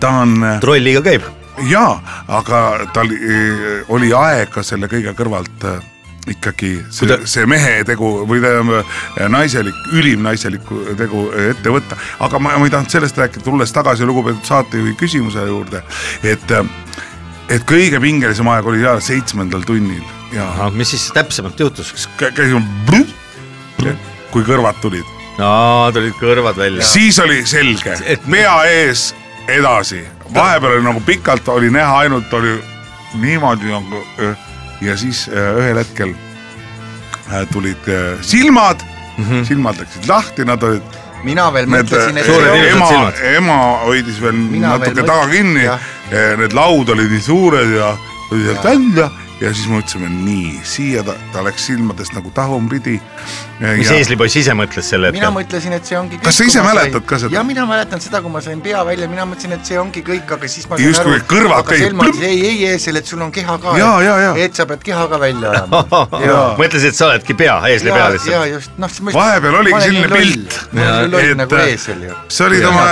C: ta on äh,
B: trolliga käib .
C: jaa , aga tal eh, oli aega selle kõige kõrvalt eh, ikkagi see,
B: Kuida-
C: see mehe tegu või tähendab eh, naiselik , ülim naiseliku tegu eh, ette võtta , aga ma, ma ei tahtnud sellest rääkida , tulles tagasi lugupeetud saatejuhi küsimuse juurde , et eh, et kõige pingelisem aeg oli jaa seitsmendal tunnil ja
B: mis siis täpsemalt juhtus ?
C: kä- käisime , kui kõrvad tulid ,
B: aa , tulid kõrvad välja .
C: siis oli selge
B: (laughs) Et- ,
C: pea ees edasi , vahepeal oli nagu pikalt oli näha , ainult oli niimoodi nagu öö. ja siis öö, ühel hetkel äh, tulid öö, silmad mm ,
B: Mhm.
C: -hmm. silmad läksid lahti , nad olid .
E: mina veel
C: e-
E: mõtlesin , et
B: suured
E: see on-
B: ilusad
C: ema
B: silmad. ,
C: ema hoidis veel
E: Mina
C: Mina natuke
E: veel
C: veel taga
E: mõtlesin,
C: kinni Äh,
E: jah. ,
C: need laud olid nii suured ja tuli sealt välja ja siis me mõtlesime nii , siia ta, ta läks silmadest nagu Äh, tagurpidi .
B: mis eeslipoiss ise mõtles selle
E: mina
B: hetkel ?
E: mõtlesin , et see ongi kõik .
C: Kas sa ise mäletad ka seda?
E: ja mina mäletan seda , kui ma sain pea välja , mina mõtlesin , et see ongi kõik , aga siis ma .
C: Justkui kõrvad käisid plõmp.
E: ei , ei , ei , selle , et sul on keha ka .
C: Jaa, jaa, jaa.
E: et sa pead keha ka
C: (laughs)
E: välja ajama .
B: mõtlesid , et sa oledki pea , eesli pea
E: ja
B: lihtsalt .
E: just , noh .
C: Vahepeal oligi selline
E: (laughs)
C: pilt.
E: ma
B: Jaa, äh,
E: olin loll
C: et-
E: nagu eesel ju .
C: see olid oma ,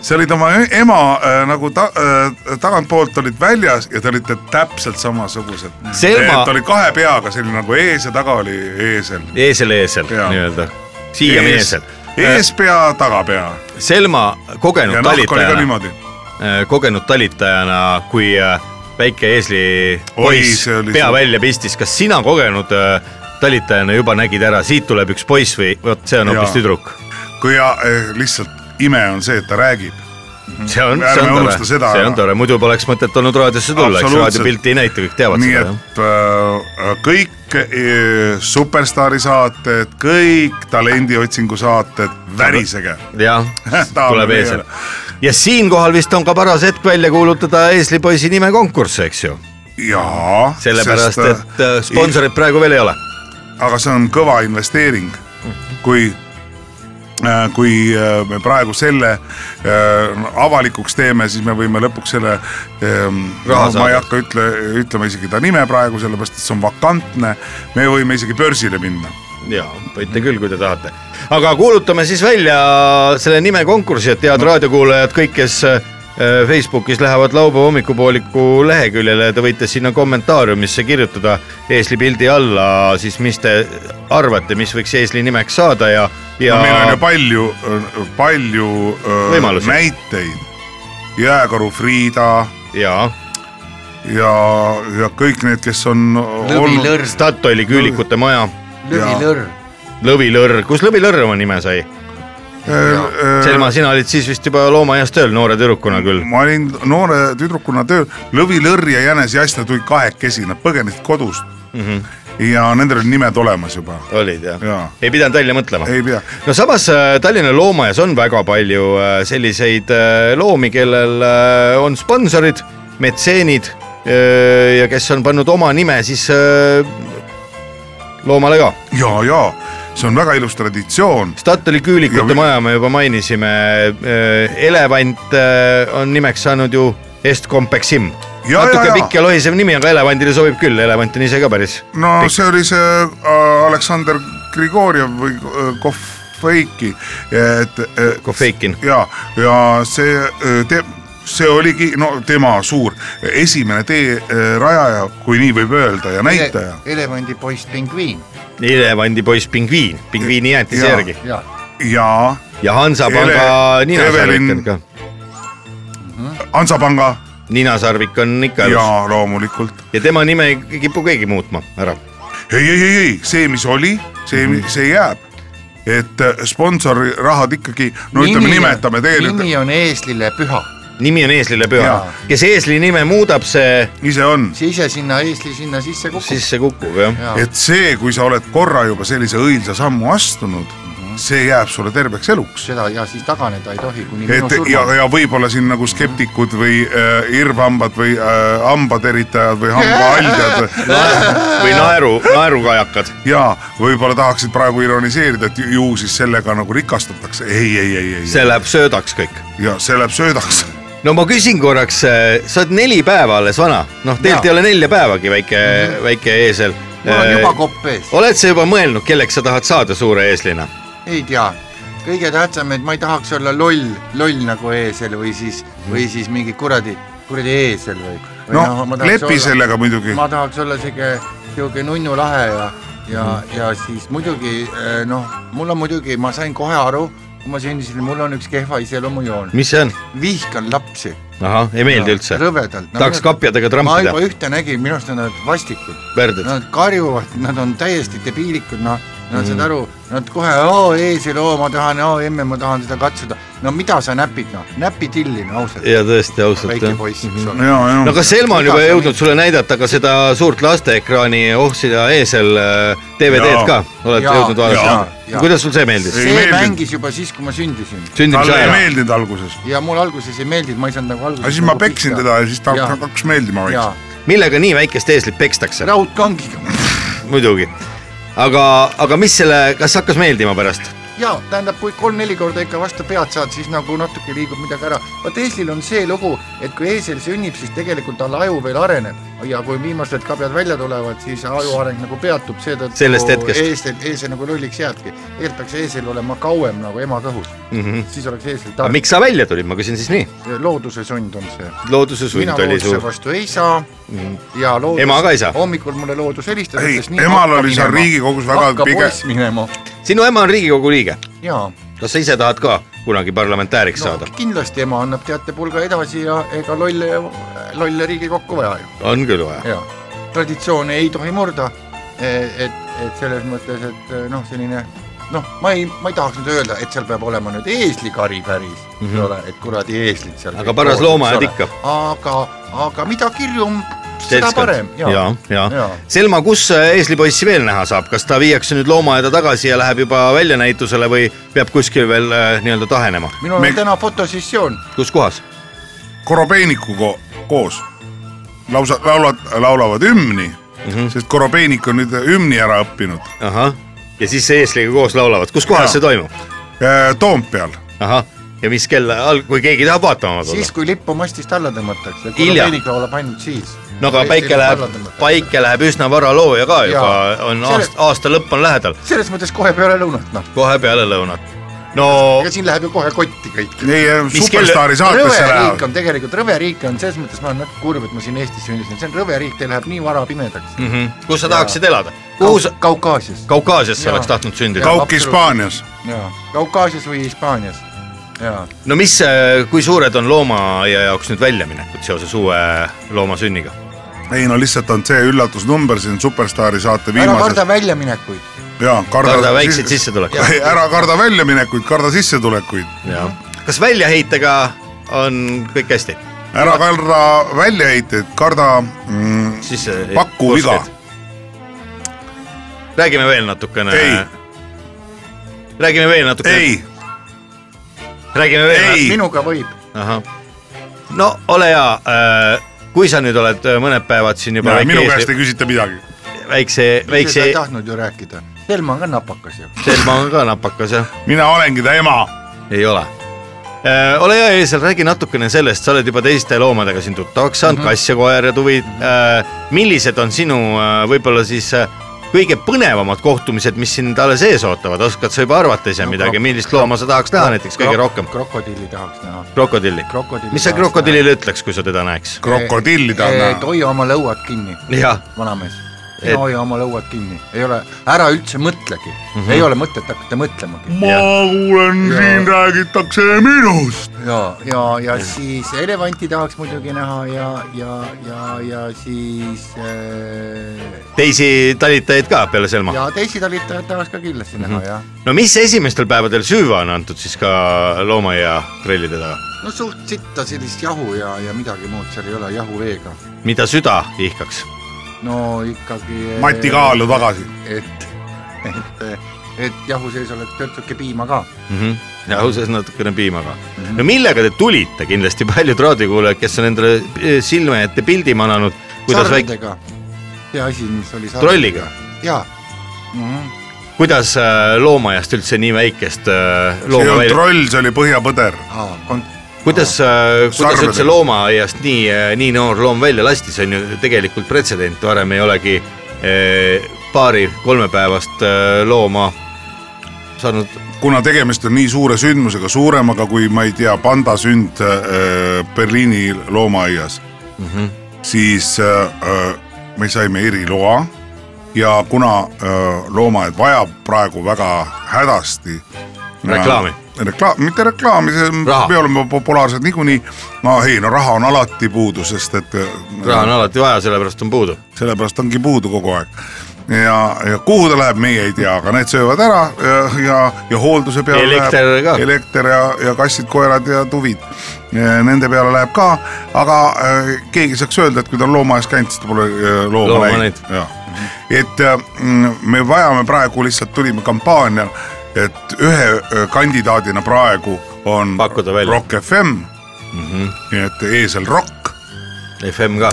C: see olid oma e- ema äh, nagu ta, äh, tagantpoolt olid väljas ja te olite täpselt samasugused .
B: Selma-
C: et oli kahe peaga selline nagu ees ja taga oli eesel .
B: eesel , eesel
C: Jaa.
B: nii-öelda . siiani eesel .
C: eespea , tagapea
B: Selma kogenud
C: ja nahk oli ka
B: talitajana ,
C: niimoodi .
B: kogenud talitajana , kui äh, väike eesli
C: Oi,
B: poiss
C: see oli
B: pea
C: see-
B: välja pistis , kas sina kogenud äh, talitajana juba nägid ära , siit tuleb üks poiss või vot see on hoopis
C: Jaa.
B: tüdruk ?
C: kui ja eh, lihtsalt ime on see , et ta räägib .
B: see on ,
C: Ärme
B: see on
C: unusta
B: tore ,
C: seda
B: see on
C: ära.
B: tore , muidu poleks mõtet olnud raadiosse tulla , eks
C: Absoluutselt.
B: raadiopilti ei näita , kõik teavad
C: nii
B: seda jah .
C: et äh, kõik eh, superstaari saated , kõik talendi otsingu saated , värisege . (laughs)
B: jah
C: Tahame ,
B: tuleb
C: meie
B: eesel . ja siinkohal vist on ka paras hetk välja kuulutada eeslipoisi nime konkurss , eks ju .
C: jaa .
B: sellepärast , et äh, sponsorit praegu veel ei ole .
C: aga see on kõva investeering , kui , kui äh, me praegu selle äh, avalikuks teeme , siis me võime lõpuks selle ähm,
B: Raha
C: ma ei
B: saada.
C: hakka ütle , ütlema isegi ta nime praegu , sellepärast et see on vakantne . me võime isegi börsile minna .
B: jaa , võite küll , kui te tahate . aga kuulutame siis välja selle nime konkursi , et head raadiokuulajad , kõik , kes äh, Facebookis lähevad laupäeva hommikupooliku leheküljele , te võite sinna kommentaariumisse kirjutada eesli pildi alla siis , mis te arvate , mis võiks eesli nimeks saada ja , ja
C: no meil on ju palju , palju äh,
B: Võimalusi.
C: näiteid . jääkaru Friida
B: jaa ,
C: ja , ja kõik need , kes on olnud ,
E: lõvilõrn ,
B: Statoili küülikute maja ,
E: lõvilõrn .
B: Lõvilõrr , kus Lõvilõrr oma nime sai ?
C: äh,
B: Selma , sina olid siis vist juba loomaaias tööl noore tüdrukuna küll .
C: ma olin noore tüdrukuna tööl , lõvilõrr ja jänes jasna tulid kahekesi , nad põgenesid kodust mm . -hmm. ja nendel olid nimed olemas juba ,
B: olid jah ja.
C: Jaa. ?
B: ei pidanud välja mõtlema
C: ei pea .
B: no samas äh, Tallinna loomaaias on väga palju äh, selliseid äh, loomi , kellel äh, on sponsorid , metseenid äh, ja kes on pannud oma nime siis äh, loomale ka .
C: ja , ja see on väga ilus traditsioon ,
B: Statoili küülikute
C: Ja-
B: maja me juba mainisime , elevant äh, on nimeks saanud ju Estcompexim .
C: Ja,
B: natuke
C: ja, ja.
B: pikk ja lohisev nimi , aga elevandile sobib küll , elevant on ise ka päris
C: no
B: pikk .
C: see oli see äh, Aleksander Grigorjev või äh, Kofeiki , et äh,
B: Kofeikin ,
C: ja , ja see äh, te, see oligi no tema suur esimene tee äh, rajaja , kui nii võib öelda ja näitaja .
E: elevandipoiss pingviin .
B: elevandipoiss pingviin , pingviini jäätise
C: Ja.
B: järgi
E: jaa ,
C: ja
B: ja Hansapanga
C: Ele-
B: ninasarvik on
C: Evelyn-
B: ka ,
C: Hansapanga
B: ninasarvik on ikka elus ja.
C: ja loomulikult
B: ja tema nime ei kipu keegi muutma ära .
C: ei , ei , ei , ei , see , mis oli , see ,
E: Mhm.
C: see jääb . et äh, sponsori rahad ikkagi , no ütleme , nimetame
E: nimi
C: teile ,
E: on eeslile püha ,
B: nimi on eeslile püha
C: Jaa. ,
B: kes eesli nime muudab , see
C: ise on ,
E: see ise sinna eesli sinna sisse kukub .
B: sisse kukub jah .
C: et see , kui sa oled korra juba sellise õilsa sammu astunud ,
E: Mhm.
C: see jääb sulle terveks eluks .
E: seda ja siis taganeda ei tohi , kuni minu
C: et ja ,
E: surmani .
C: ja võib-olla siin nagu skeptikud või äh, irvhambad või äh, hambaderitajad või
E: (laughs)
C: hambahaldjad
B: või naeru , naerukajakad .
C: ja võib-olla tahaksid praegu ironiseerida , et ju- ju siis sellega nagu rikastatakse , ei , ei , ei , ei ,
B: see läheb söödaks kõik .
C: ja see läheb söödaks
B: no ma küsin korraks , sa oled neli päeva alles vana , noh , tegelikult
E: Jaa.
B: ei ole nelja päevagi , väike , väike eesel .
E: mul
B: Äh,
E: on juba kopp ees ,
B: oled sa juba mõelnud , kelleks sa tahad saada suure eeslina ?
E: ei tea . kõige tähtsam , et ma ei tahaks olla loll , loll nagu eesel või siis , või siis mingi kuradi , kuradi eesel või .
C: noh , lepi . sellega muidugi .
E: ma tahaks olla sihuke , sihuke nunnu lahe ja , ja , ja siis muidugi eh, noh , mul on muidugi , ma sain kohe aru , kui ma sündisin , mul on üks kehva iseloomujoon ,
B: mis see on ?
E: vihkan lapsi .
B: ahah , ei meeldi üldse ?
E: rõvedalt .
B: tahaks kapjadega
E: ma
B: trampida
E: juba , ühte nägin , minu arust on nad vastikud ,
B: värdjad .
E: nad karjuvad , nad on täiesti debiilikud , noh , nad mm. saad aru , nad kohe oo eesil , oo ma tahan , oo emme , ma tahan seda katsuda . no mida sa näpid , noh , näpi tilli , no ausalt ,
B: ja tõesti ausalt
E: väike
B: jah .
E: poiss , eks ole .
C: ja ,
B: no
C: ja
B: kas Selma on
E: Mida
B: juba
E: sa
B: jõudnud
E: nüüd-
B: sulle näidata ka seda suurt lasteekraani ohsida eesel äh, DVD-d
C: Jaa.
B: ka , oled
E: Jaa,
B: jõudnud
E: jaa,
B: vaadata
E: jaa. ?
B: kuidas sul see meeldis ?
C: Ei
E: see
C: meeldinud.
E: mängis juba siis , kui ma sündisin
B: sündimise
C: talle ei
B: ajal ?
C: meeldinud alguses ,
E: ja mul alguses ei meeldinud , ma ei saanud nagu alguses .
C: aga siis ma peksin teda ja siis ta
E: Jaa.
C: hakkas meeldima
E: ja
C: veits .
B: millega nii väikest eeslit pekstakse ?
E: raudkangiga
B: muidugi . aga , aga mis selle , kas hakkas meeldima pärast ?
E: ja tähendab , kui kolm-neli korda ikka vastu pead saad , siis nagu natuke liigub midagi ära . vot Eestil on see lugu , et kui eesel sünnib , siis tegelikult tal aju veel areneb ja kui viimased kabjad välja tulevad , siis aju areng nagu peatub , seetõttu
B: Sellest hetkest.
E: eesel , eesel nagu lolliks jääbki . tegelikult peaks eesel olema kauem nagu ema kõhus mm , -hmm. siis oleks eesel
B: Mhm. aga
E: tark .
B: miks sa välja tulid , ma küsin siis nii .
E: looduse sund on see .
B: looduse
E: mina
B: sund oli
E: looduse
B: suur .
E: vastu ei saa ja loodus,
B: Ema ka ei saa?
E: hommikul mulle loodus helistas ,
C: Ei,
E: ütles nii .
C: emal oli seal Riigikogus väga
E: hakka
C: pige-
E: poiss minema
B: sinu ema on Riigikogu liige .
E: ja
B: kas sa ise tahad ka kunagi parlamentääriks
E: no
B: saada ?
E: kindlasti ema annab teatepulga edasi ja ega lolle , lolle Riigikokku vaja ju ,
B: on küll vaja .
E: ja traditsioone ei tohi murda . et , et selles mõttes , et noh , selline noh , ma ei , ma ei tahaks nüüd öelda , et seal peab olema nüüd eeslikari päris mm , -hmm. ole , et kuradi eeslid seal .
B: Mhm. Aga paras loomaaed ikka. .
E: aga , aga mida kirjum , seda
B: seltskond
E: parem ,
B: ja , ja, ja. .
E: Jaa.
B: Selma , kus eeslipoissi veel näha saab , kas ta viiakse nüüd loomaaeda tagasi ja läheb juba väljanäitusele või peab kuskil veel äh, nii-öelda tahenema ?
E: minul on
C: Me-
E: täna fotosessioon ,
B: kus kohas ?
C: Korobeinikuga koos lausa laulad , laulavad hümni mm , -hmm. sest Korobeinik on nüüd hümni ära õppinud
B: Mhm, ahah , ja siis eesliga koos laulavad , kus kohas
C: Jaa.
B: see toimub ?
C: Eh, Toompeal .
B: ahah , ja mis kell , kui keegi tahab vaatama tulla
E: siis ? kui lippu mastist alla tõmmatakse ,
B: Hilja.
E: korobeinik laulab ainult siis .
B: no aga päike läheb , päike läheb üsna vara looja ka juba
E: Jaa. ,
B: on
E: Selle-
B: aasta , aasta lõpp on lähedal ,
E: selles mõttes kohe peale lõunat , noh .
B: kohe peale lõunat . no
E: ega siin läheb ju kohe kotti kõik .
C: ei ,
B: Mis kell-
C: Superstaari saatesse
E: rõve riik
C: lähevad .
E: on tegelikult , rõve riik on selles mõttes , ma olen natuke kurb , et ma siin Eestis sündisin , see on rõve riik , teil läheb nii vara pimedaks .
B: mm -hmm. kus sa tahaksid elada ? kuhu sa ,
E: Kaukaasias .
B: Kaukaasiasse
E: Jaa.
B: oleks tahtnud sündida
E: Jaa. ?
C: Kaug-Hispaanias .
E: jaa , Kaukaasias või Hispaanias . jaa ,
B: no mis , kui suured on loomaaia jaoks nüüd väljaminekud seoses uue loomasünniga ?
C: ei no lihtsalt on see üllatusnumber siin Superstaari saate
E: ära
C: viimases .
E: karda väljaminekuid .
C: jaa ,
B: karda väikseid . sissetulekuid .
C: ei , ära karda väljaminekuid , karda sissetulekuid .
B: kas väljaheitega on kõik hästi ?
C: ära karda väljaheiteid , karda mm,
B: siis äh,
C: paku viga .
B: räägime veel natukene .
C: Ei.
B: räägime veel natukene .
C: ei ,
B: räägime veel
C: Ei.
E: minuga võib .
B: ahah , no ole hea , kui sa nüüd oled äh, mõned päevad siin juba väike
C: minu käest
B: eesli-
C: ei küsita midagi .
B: väikse ,
E: sa
B: väikse
E: ei , tahtnud ju rääkida . Selma on ka napakas ju .
B: Selma on ka napakas jah ,
C: mina olengi ta ema .
B: ei ole . ole hea , Eesel , räägi natukene sellest , sa oled juba teiste loomadega siin tuttavaks
E: Mhm.
B: saanud mm , -hmm. kass ja koer ja tuvid . millised on sinu äh, võib-olla siis äh, kõige põnevamad kohtumised , mis sind alles ees ootavad , oskad sa juba arvata ise
E: No,
B: midagi ,
E: krok-
B: millist looma sa tahaks näha näiteks kõige rohkem ?
E: krokodilli tahaks näha .
B: krokodilli .
E: Krokodilli
B: mis sa
E: tahaks
B: krokodillile ütleks , kui sa teda näeks ?
C: krokodilli ta on näha .
E: hoia oma lõuad kinni
B: jah
E: vanamees ,
B: Et-
E: ei hoia oma lõuad kinni , ei ole , ära üldse mõtlegi mm ,
B: Mhm.
E: -hmm. ei ole mõtet hakata mõtlemagi .
C: ma kuulen , siin räägitakse minust .
E: ja , ja , ja siis elevanti tahaks muidugi näha ja , ja , ja , ja siis äh,
B: teisi talitajaid ka peale Selma ?
E: ja teisi talitajad tahaks ka kindlasti näha
B: Mhm.
E: mm -hmm. ja .
B: no mis esimestel päevadel süüa on antud siis ka loomaaia trellide taga ,
E: no suht sitta sellist jahu ja , ja midagi muud seal ei ole jahuveega .
B: mida süda ihkaks ?
E: no ikkagi . äh,
C: Mati Kaalu tagasi .
E: et , et , et jahu sees oleks törtsuke piima ka .
B: Mhm. ja ausalt natukene piimaga . no millega te tulite , kindlasti paljud raadiokuulajad , kes on endale eh, silme ette pildi mananud , kuidas väike ,
E: sarvedega , see asi , mis oli .
B: trolliga ,
E: jaa mm . -hmm
B: kuidas äh, loomaaiast üldse nii väikest äh,
C: see ei
B: looma
C: olnud
B: välja ,
C: troll , see oli põhjapõder .
E: aa , kon- ,
B: kuidas , kuidas
C: Sarvedega.
B: üldse loomaaiast nii , nii noor loom välja lasti , see on ju tegelikult pretsedent , varem ei olegi eh, paari kolmepäevast eh, looma saanud
C: kuna tegemist on nii suure sündmusega , suuremaga kui ma ei tea , panda sünd äh, Berliini loomaaias mm ,
B: Mhm.
C: -hmm. siis äh, me saime eriloa ja kuna äh, loomaaed vajab praegu väga hädasti .
B: Reklaami. .
C: reklaam , mitte reklaami , see
B: Raha.
C: me oleme populaarsed niikuinii . no ei , no raha on alati puudu , sest et . äh,
B: raha on alati vaja , sellepärast on puudu .
C: sellepärast ongi puudu kogu aeg . ja , ja kuhu ta läheb , meie ei tea , aga need söövad ära ja , ja, ja hoolduse peale
B: Elekter
C: läheb
B: ka.
C: elekter ja , ja kassid , koerad ja tuvid . Nende peale läheb ka , aga äh, keegi saaks öelda , et kui ta on loomaaias käinud , siis ta pole äh, looma
B: Looma
C: näinud . et äh, mm, me vajame praegu lihtsalt tulime kampaanial , et ühe äh, kandidaadina praegu on
B: Pakkuda välja. Mhm.
C: Rock FM mm . -hmm. et Eesel Rock
B: FM ka ,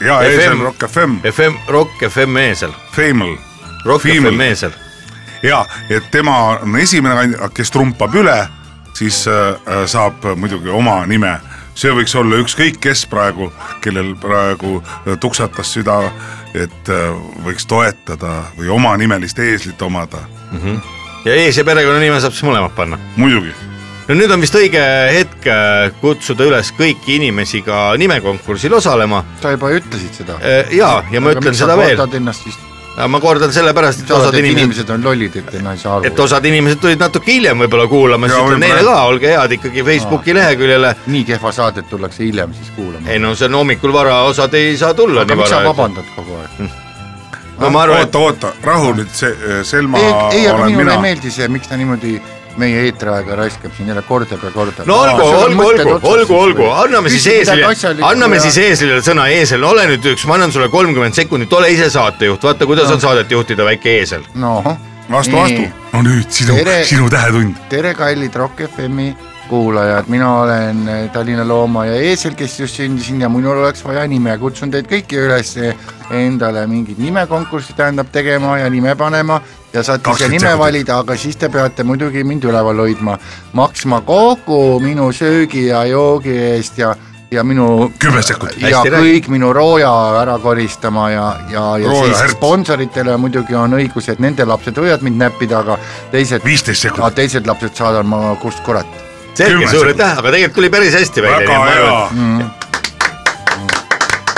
C: ja
B: FM.
C: Eesel Rock FM ,
B: FM , Rock FM eesel ,
C: Femal
B: Rock
C: Female.
B: FM eesel .
C: ja et tema on esimene kandidaat , kes trumpab üle , siis äh, saab muidugi oma nime . see võiks olla ükskõik kes praegu , kellel praegu äh, tuksatas süda , et äh, võiks toetada või omanimelist eeslit omada ,
B: ja ees ja perekonnanime saab siis mõlemad panna .
C: muidugi .
B: no nüüd on vist õige hetk äh, kutsuda üles kõiki inimesi ka nimekonkursil osalema
E: sa juba ütlesid seda .
B: Eh, jaa , ja ma ütlen seda veel ,
E: kordad ennast siis ,
B: ma kordan sellepärast , et
E: osad
B: osad
E: et
B: inimesed ,
E: inimesed nagu- on lollid , et ei- no ei saa aru
B: et . osad inimesed tulid natuke hiljem võib-olla kuulama , siis
C: Jaa,
B: ütlen
C: võib-olla
B: neile ka
C: jah. ,
B: olge head ikkagi Facebooki leheküljele .
E: nii kehva saadet tullakse hiljem siis kuulama .
B: ei no see on hommikul vara , osad ei saa tulla
E: aga
B: nii
E: miks sa
B: vara .
E: vabandad kogu aeg ?
B: no ma arvan , et
C: oota , oota , rahu nüüd , see äh, Selma
E: ei , ei , aga
C: olen
E: minule
C: mina
E: ei . meeldi see , miks ta niimoodi meie eetriaega raiskab siin jälle kordab ja kordab .
B: no olgu , olgu , olgu , olgu , olgu , anname siis Eeslile , anname siis Eeslile sõna , Eesel , ole nüüd üks , ma annan sulle kolmkümmend sekundit , ole ise saatejuht , vaata , kuidas on saadet juhtida , väike Eesel .
E: noh ,
C: vastu , vastu
E: Nii. .
C: no nüüd sinu
E: Tere. ,
C: sinu tähetund .
E: tere , kallid Rock FM-i kuulajad , mina olen eh, Tallinna Loomaaia Eesel , kes just sündisin ja minul oleks vaja nime , kutsun teid kõiki üles eh, endale mingit nimekonkurssi tähendab tegema ja nime panema ja saate ise
C: 20
E: nime
C: sekundit.
E: valida , aga siis te peate muidugi mind üleval hoidma , maksma kogu minu söögi ja joogi eest ja , ja minu
C: kümme sekundit .
E: ja
B: Hästi
E: kõik minu rooja ära koristama ja , ja , ja
C: Rooja
E: siis
C: härts.
E: sponsoritele muidugi on õigus , et nende lapsed võivad mind näppida , aga teised ,
C: 15 sekundit.
E: aga teised lapsed saadan ma kust kurat .
B: selge ,
C: Kümme
B: suur
C: sekundit.
B: aitäh , aga tegelikult tuli päris hästi välja
C: väga . hea .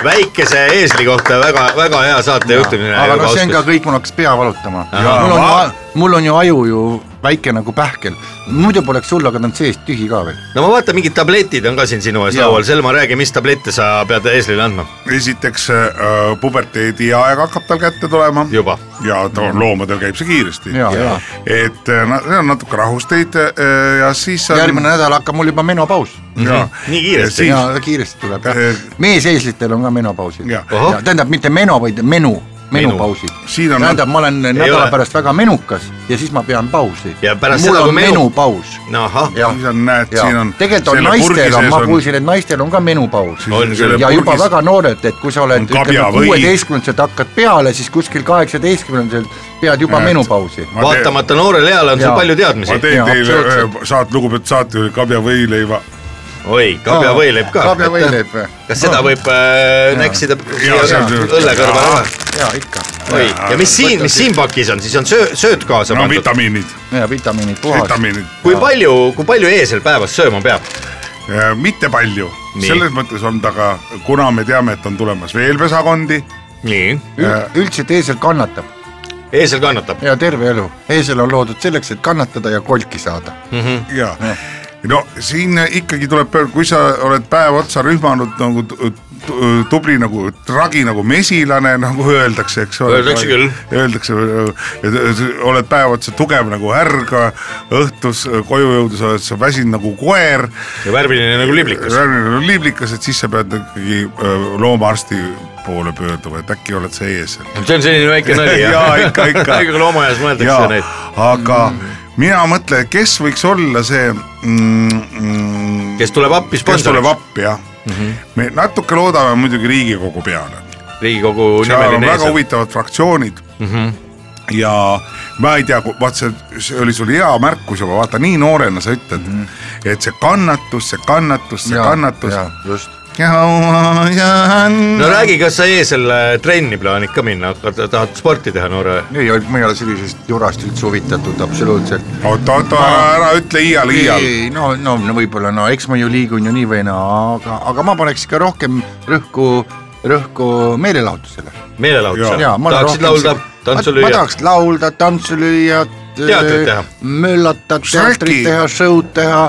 B: väikese Eesli kohta väga-väga hea saate juhtimine .
E: aga noh , see on ka kõik , mul hakkas pea valutama .
B: Jaa.
E: mul on ju , mul on ju aju ju väike nagu pähkel , muidu poleks hull , aga ta on seest tühi ka veel .
B: no ma vaatan , mingid tabletid on ka siin sinu ees
E: Jaa.
B: laual , Selma , räägi , mis tablette sa pead Eeslile andma
C: esiteks äh, puberteediaeg hakkab tal kätte tulema
B: juba ?
C: ja ta on loomadel käib see kiiresti
E: Jaa, jaa. .
C: et äh, na- see on natuke rahusteid äh, ja siis on... Mhm.
E: järgmine nädal hakkab mul juba menopaus .
C: ja,
B: Nii kiiresti.
C: ja,
E: ja kiiresti tuleb jah
C: Eh. ,
E: meeseeslitel on ka menopausid .
C: Jah.
B: Ahah.
E: tähendab mitte meno , vaid menu , menupausid .
C: Siin on-
E: tähendab , ma olen nädala
B: ole.
E: pärast väga menukas ja siis ma pean pausi .
B: Ja pärast
E: mul
B: seda,
E: on
B: kui menu-
E: menupaus .
B: no ahah ,
E: jah
C: siis , on näed , siin on
E: tegelikult on
C: selle
E: naistel
C: purgi
E: on ,
C: sees
E: ma
C: on-
E: kuulsin , et naistel on ka menupaus .
C: Siis on
E: ja
C: selle
E: juba
C: purgis-
E: väga noored , et kui sa oled
C: on kabja
E: ütleme
C: või-
E: kuueteistkümnendaselt hakkad peale , siis kuskil kaheksateistkümnendaselt pead juba
C: Näed.
E: menupausi .
C: Ma teen-
B: vaatamata noorele eale on sul
E: Jaa.
B: palju teadmisi
C: ma . teen
E: Jaa,
C: ja, teile
E: absoluutselt.
C: ühe saate , lugupeetud saatejuht , kabja võileiva
B: oi , kabjavõileib ka .
E: kabjavõileib või ?
B: kas seda võib äh, näksida siia
C: see on see-
B: õlle kõrvale ära ?
E: jaa , ikka .
B: oi , ja mis siin , mis siin pakis on , siis on söö , sööt kaasa
C: no
B: pandud .
C: vitamiinid ,
E: ja vitamiinid puhas .
C: vitamiinid ,
B: kui palju , kui palju eesel päevas sööma peab ?
C: mitte palju ,
B: Nii.
C: selles mõttes on ta ka , kuna me teame , et on tulemas veel pesakondi ,
B: nii .
E: üldse teisel kannatab
B: eesel kannatab .
E: ja terve elu . eesel on loodud selleks , et kannatada ja kolki saada .
C: ja no siin ikkagi tuleb , kui sa oled päev otsa rühmanud nagu tu- tu- tubli nagu tragi nagu mesilane , nagu öeldakse , eks ole .
B: Öeldakse küll.
C: Öeldakse , oled päev otsa tugev nagu härg , õhtus koju jõudes oled sa väsinud nagu koer ,
B: ja värviline nagu liblikas .
C: värviline on liblikas , et siis sa pead ikkagi öö, loomaarsti poole pöörduma , et äkki oled sa ees .
B: see on selline väike nali jah
C: (laughs) Jaa, ikka,
B: (laughs)
C: ikka.
B: ikka loomaaias mõeldakse
C: jaa
B: neid .,
C: aga mina mõtlen , kes võiks olla see mm, . Mm,
B: kes Mhm. tuleb appi
C: kes tuleb
B: sponsoriks ,
C: appi jah mm . -hmm. me natuke loodame muidugi Riigikogu peale .
B: Riigikogu
C: seal on
B: nimeline Mhm.
C: väga
B: eesel .
C: huvitavad fraktsioonid mm . -hmm. ja ma ei tea, vaat see, see oli sul hea märkus juba, vaata nii noorena sa ütled mm,
B: Mhm.
C: -hmm. et see kannatus, see kannatus, see ja, kannatus.
E: just .
B: no räägi , kas sa eesel äh, trenni plaanid ka minna , hakkad , tahad sporti teha noore ?
E: ei , ma ei ole sellisest jurast üldse huvitatud absoluutselt .
C: oot-oot , ära , ära ütle iial , iial .
E: ei , no , no , no võib-olla , no eks ma ju liigun ju nii või naa , aga , aga ma paneks ikka rohkem rõhku , rõhku meelelahutusele .
B: meelelahutusele
E: Jaa, . ma olen
B: tahaksid
E: rohkem
B: laulda , tantsu
E: ma
B: lüüa ?
E: tahaks laulda , tantsu lüüa .
B: Teatrit teha.
E: möllata , teatrit
C: Särki.
E: teha , show'd teha .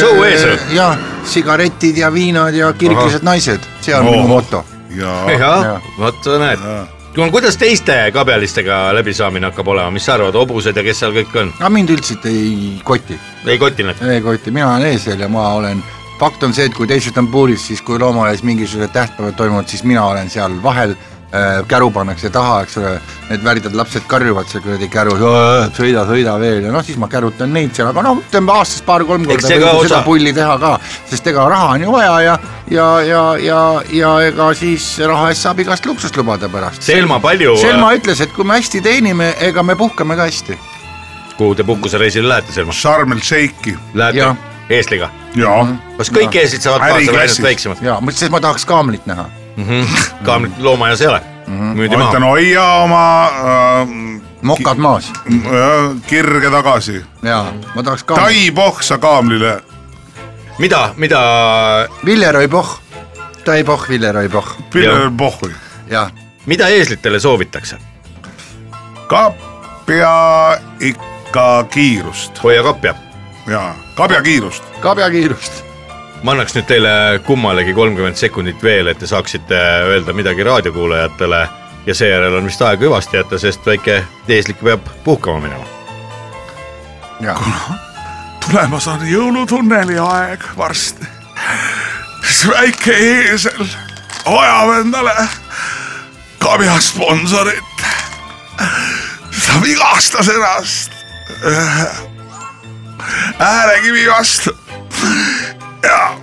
B: Show ees või? ?
E: jah , sigaretid ja viinad ja kirglised naised , see on
C: Oh.
E: minu moto .
C: ja ,
B: jah
E: Jaa. ,
B: vot sa näed . no kuidas teiste kabjalistega läbisaamine hakkab olema , mis sa arvad , hobused ja kes seal kõik on ?
E: aga mind üldiselt ei koti ,
B: ei koti need ?
E: ei koti , mina olen eesel ja ma olen fakt on see , et kui teised on puuris , siis kui loomaaias mingisugused tähtpäevad toimuvad , siis mina olen seal vahel , käru pannakse taha , eks ole , need värdjad lapsed karjuvad seal kuradi kärus , sõida , sõida veel ja noh , siis ma kärutan neid seal , aga noh , ütleme aastas paar-kolm korda
B: Eks see
E: võib
B: ka
E: ju
B: osa-
E: seda pulli teha ka , sest ega raha on ju vaja ja , ja , ja , ja , ja ega siis raha eest saab igast luksust lubada pärast .
B: Selma Palju ,
E: Selma ütles , et kui me hästi teenime , ega me puhkame ka hästi .
B: äh, kuhu te puhkusereisile lähete , Selma ?
C: Sharm el Sheikhi
B: Lähete
E: Jah.
B: eestliga ?
C: ja
B: kas kõik eestlased saavad kaasa või ainult
C: Äriklassis. Mhm.
B: väiksemad ?
E: ja , sest ma tahaks kaamlit näha
B: kaamrit loomaaias ei ole , müüdi
C: ma
B: maha
C: ütlen . hoia oma
E: mokad maas
C: äh, kirge tagasi .
E: ja ma tahaks ka .
C: Tai pohsa kaamlile .
B: mida , mida ,
E: Villeroi Pohh , Tai Pohh , Villeroi Pohh ,
C: Piller pohhui .
E: jah .
B: mida eeslitele soovitakse ?
C: kapja ikka kiirust
B: hoia kapja .
C: ja kabja kiirust .
E: kabjakiirust .
B: ma annaks nüüd teile kummalegi kolmkümmend sekundit veel , et te saaksite öelda midagi raadiokuulajatele ja seejärel on vist aeg hüvasti jätta , sest väike eeslik peab puhkama minema .
C: tulemas on jõulutunneli aeg varsti . siis väike eesel vajab endale kabja sponsorit . ta vigastas ennast ühe äärekivi vastu ja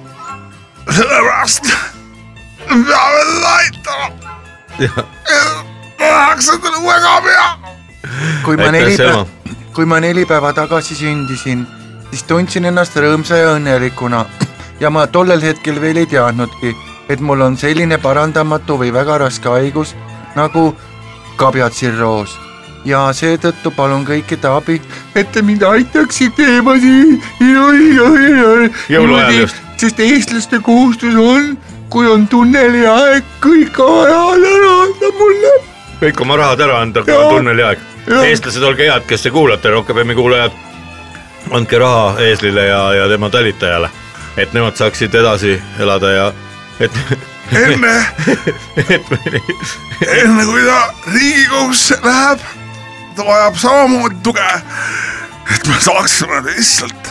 C: sellepärast peame teda aitama . tahaks endale uue kabja
E: kui ma
B: Aitäh,
E: neli päeva
B: Selma. ,
E: kui ma neli päeva tagasi sündisin , siis tundsin ennast rõõmsa ja õnnelikuna (clears throat) ja ma tollel hetkel veel ei teadnudki , et mul on selline parandamatu või väga raske haigus nagu kabjatsirroos ja seetõttu palun kõikide abi , et te mind aitaksite .
B: Jõuluajal just.
E: sest eestlaste kohustus on , kui on tunneli aeg , kõik oma rahad ära anda mulle
B: kõik oma rahad ära anda , kui on tunneli aeg .
E: Jah.
B: eestlased , olge head , kes te kuulate , Rock FM-i kuulajad , andke raha eeslile ja , ja tema talitajale , et nemad saaksid edasi elada ja et , (laughs)
C: enne
B: et
C: enne kui ta Riigikogusse läheb , ta vajab samamoodi tuge . et me saaksime lihtsalt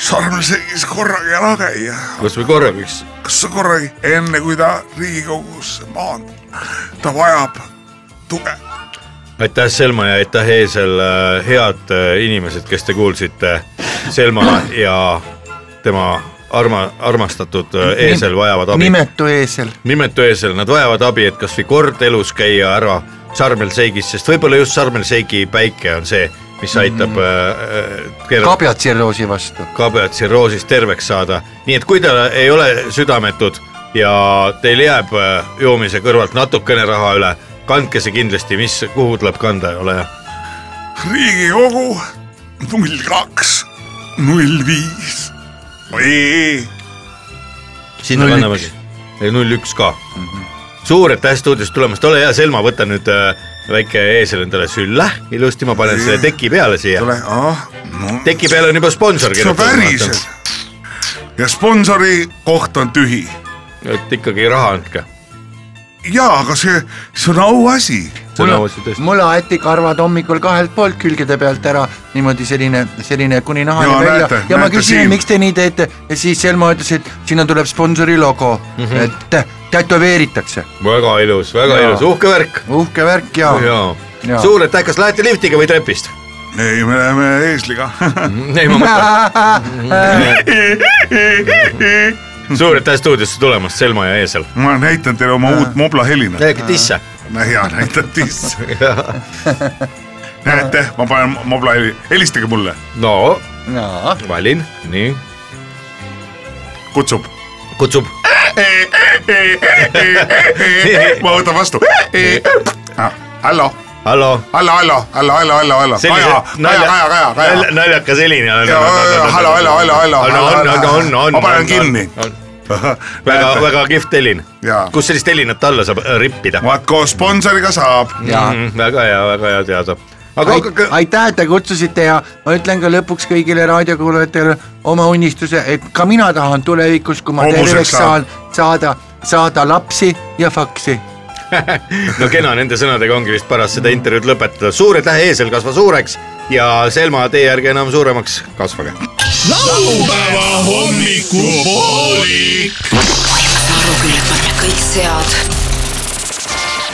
C: Sharmseigis korragi ära käia ,
B: kas või korra võiks ,
C: kas sa korragi , enne kui ta Riigikogusse maandub , ta vajab tuge .
B: aitäh , Selma ja aitäh , Eesel , head äh, inimesed , kes te kuulsite , Selma ja tema arma , armastatud äh, Eesel vajavad abi .
E: nimetu eesel .
B: nimetu eesel , nad vajavad abi , et kasvõi kord elus käia ära Sarmel Seigis , sest võib-olla just Sarmel Seigi päike on see , mis aitab mm. äh, äh,
E: kabjatsirroosi vastu .
B: kabjatsirroosist terveks saada . nii et kui te ei ole südametud ja teil jääb äh, joomise kõrvalt natukene raha üle , kandke see kindlasti , mis , kuhu tuleb kanda , ole hea .
C: riigikogu null kaks , null viis , ee ,
B: sinna kannamegi , null üks ka . suur aitäh stuudiost tulemast , ole hea , Selma , võta nüüd äh, väike eesel endale sülle , ilusti ma panen selle teki peale siia
C: tule , ah , no
B: teki peale on juba sponsor
C: sa päriselt . ja sponsori koht on tühi
B: et ikkagi raha andke .
C: jaa , aga see , see on auasi .
E: mulle aeti karvad hommikul kahelt poolt külgede pealt ära , niimoodi selline , selline kuni nahani
C: Jaa,
E: välja
C: näete,
E: ja ma
C: näete,
E: küsisin ,
C: Siim.
E: miks te nii teete ja siis Selma ütles , et sinna tuleb sponsori logo mm , -hmm. et tä- tätoveeritakse ,
B: väga ilus , väga
E: Jaa.
B: ilus , uhke värk .
E: uhke värk ja, (laughs)
B: jaa
E: Jaa. ,
B: suur aitäh , kas lähete liftiga või trepist ?
C: ei , me läheme eesliga . (laughs) Mhm.
B: ei , ma mõtlen . suur aitäh stuudiosse tulemast , Selma ja Eesel .
C: ma näitan teile oma uut moblahelina .
B: Lähege tisse .
C: no hea näidati
B: (laughs)
C: isse . näete , ma panen moblaili , helistage mulle ,
B: no
E: jaa ,
B: valin , nii ,
C: kutsub . (laughs)
B: kutsub .
C: ma võtan vastu . hallo ,
B: hallo .
C: hallo , hallo , hallo , hallo , hallo , hallo , Kaja , Kaja , Kaja , Kaja , Kaja .
B: naljakas helin .
C: hallo , hallo , hallo , hallo .
B: on , on , on , on .
C: ma panen kinni .
B: (laughs) väga , väga kihvt helin .
C: Jaa.
B: kus sellist helinat alla saab äh, rippida ?
C: vaat koos sponsoriga saab .
E: jaa .
B: Mm, väga hea , väga hea teada . Mhm. aga
E: Ait-
B: hakake ,
E: aitäh , et te kutsusite ja ma ütlen ka lõpuks kõigile raadiokuulajatele oma unistuse , et ka mina tahan tulevikus , kui ma
C: Homoseks
E: terveks
C: saab.
E: saan , saada , saada lapsi ja faksi .
B: no kena nende sõnadega ongi vist paras seda intervjuud lõpetada . suur aitäh , eesel kasva suureks ja Selma , teie ärge enam suuremaks kasvage .
D: laupäeva hommikupoolik .
F: Aru küll , panna kõik sead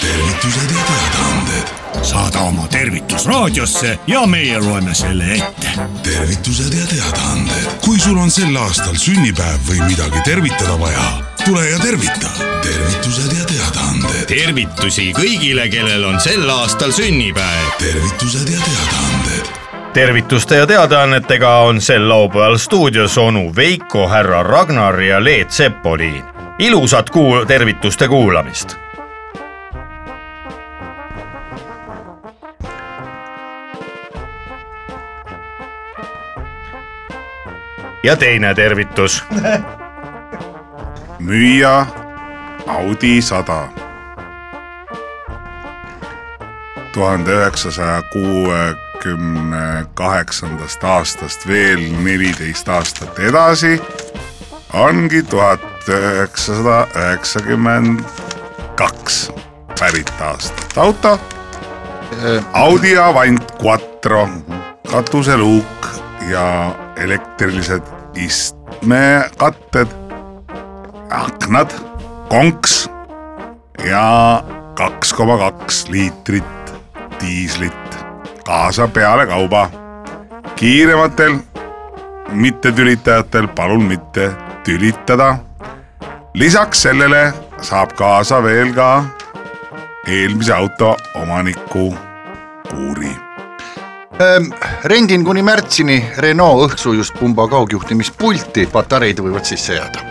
D: tervitused ja teadaanded . saada oma tervitus raadiosse ja meie loeme selle ette .
G: tervitused ja teadaanded . kui sul on sel aastal sünnipäev või midagi tervitada vaja , tule ja tervita . tervitused ja teadaanded ,
D: tervitusi kõigile , kellel on sel aastal sünnipäev .
G: tervitused ja teadaanded ,
B: tervituste ja teadaannetega on sel laupäeval stuudios onu Veiko , härra Ragnar ja Leet Sepoliin . ilusat kuul- , tervituste kuulamist . ja teine tervitus .
C: müüa Audi sada . tuhande üheksasaja kuuekümne kaheksandast aastast veel neliteist aastat edasi ongi tuhat üheksasada üheksakümmend kaks pärit aastat auto . Audi Avant Quattro , katuseluuk ja elektrilised istmekatted aknad , konks ja kaks koma kaks liitrit diislit kaasa peale kauba . kiirematel mittetülitajatel palun mitte tülitada . lisaks sellele saab kaasa veel ka eelmise auto omaniku kuuri .
E: rendin kuni märtsini Renault õhksujust pumba kaugjuhtimispulti , patareid võivad sisse jääda .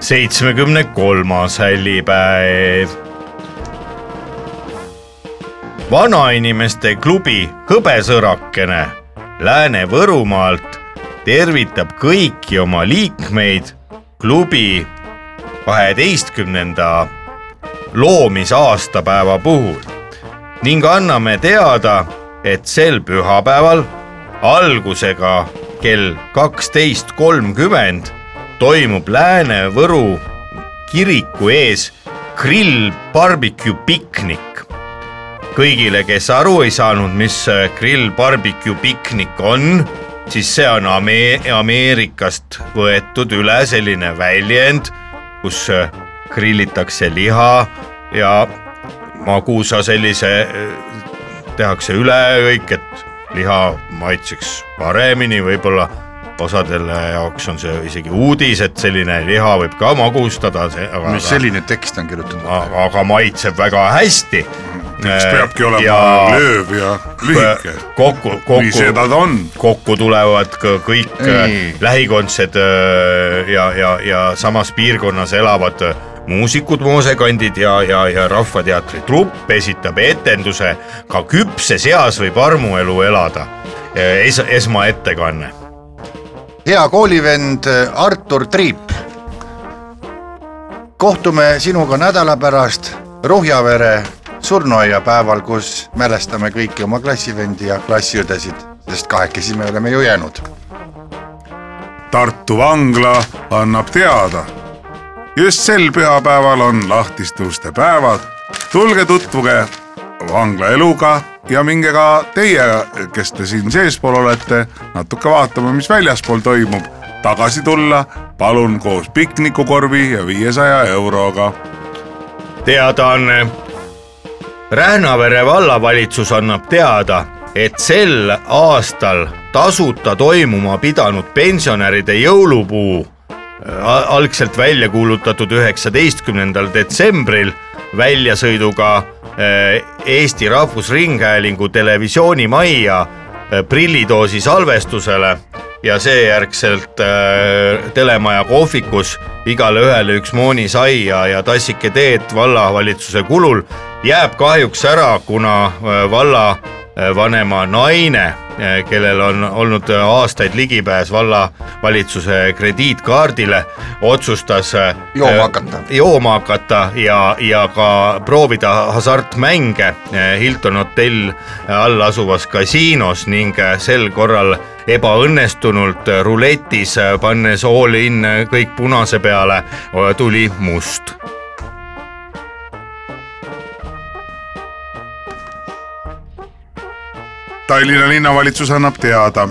B: seitsmekümne kolmas hällipäev . vanainimeste klubi Hõbesõrakene Lääne-Võrumaalt tervitab kõiki oma liikmeid klubi kaheteistkümnenda loomisaastapäeva puhul ning anname teada , et sel pühapäeval algusega kell kaksteist kolmkümmend toimub Lääne-Võru kiriku ees grill barbeque piknik . kõigile , kes aru ei saanud , mis see grill barbeque piknik on , siis see on Ame- Ameerikast võetud üle selline väljend , kus äh, grillitakse liha ja magusa sellise eh, tehakse üle kõik , et liha maitseks paremini , võib-olla osadele jaoks on see isegi uudis , et selline liha võib ka magustada , aga,
E: mis selline tekst on kirjutatud ?
B: aga, aga maitseb väga hästi .
C: mis
B: Äh,
C: peabki olema ja... lööv ja lühike .
B: kokku ,
C: nii
B: kokku
C: see ta on .
B: kokku tulevad ka kõik
E: Ei.
B: Ei. lähikondsed öö, ja , ja , ja samas piirkonnas elavad öö, muusikud , moosekandid ja , ja , ja Rahvateatri trupp esitab etenduse Ka küpses eas võib armuelu elada Äh, es, . esmaettekanne .
E: hea koolivend äh, Artur Triip . kohtume sinuga nädala pärast Ruhjavere surnuaia päeval , kus mälestame kõiki oma klassivendi ja klassiõdesid , sest kahekesi me oleme ju jäänud .
C: Tartu vangla annab teada . just sel pühapäeval on lahtiste uste päevad . tulge tutvuge vangla eluga ja minge ka teie , kes te siin seespool olete , natuke vaatama , mis väljaspool toimub . tagasi tulla palun koos piknikukorvi ja viiesaja euroga .
B: teadaanne . Rähnavere vallavalitsus annab teada , et sel aastal tasuta toimuma pidanud pensionäride Äh, jõulupuu a- algselt välja kuulutatud üheksateistkümnendal detsembril väljasõiduga eh, Eesti Rahvusringhäälingu televisioonimajja eh, prillidoosi salvestusele ja seejärgselt eh, telemaja kohvikus igale ühele üks moonisai ja , ja tassike teed vallavalitsuse kulul jääb kahjuks ära , kuna eh, valla eh, vanema naine , kellel on olnud eh, aastaid ligipääs vallavalitsuse krediitkaardile , otsustas eh,
E: Jooma hakata.
B: jooma hakata ja , ja ka proovida hasartmänge eh, Hilton hotell äh, all asuvas kasiinos ning eh, sel korral ebaõnnestunult eh, ruletis , pannes all in eh, kõik punase peale , tuli must .
C: Tallinna linnavalitsus annab teada .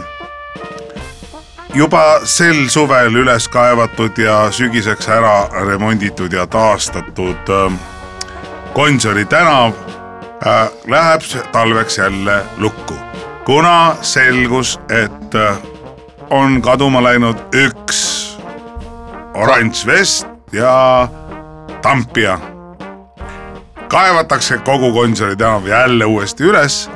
C: juba sel suvel üles kaevatud ja sügiseks ära remonditud ja taastatud ähm, Gonsiori tänav äh, läheb s- talveks jälle lukku , kuna selgus , et äh, on kaduma läinud üks oranž vest ja tampija . kaevatakse kogu Gonsiori tänav jälle uuesti üles .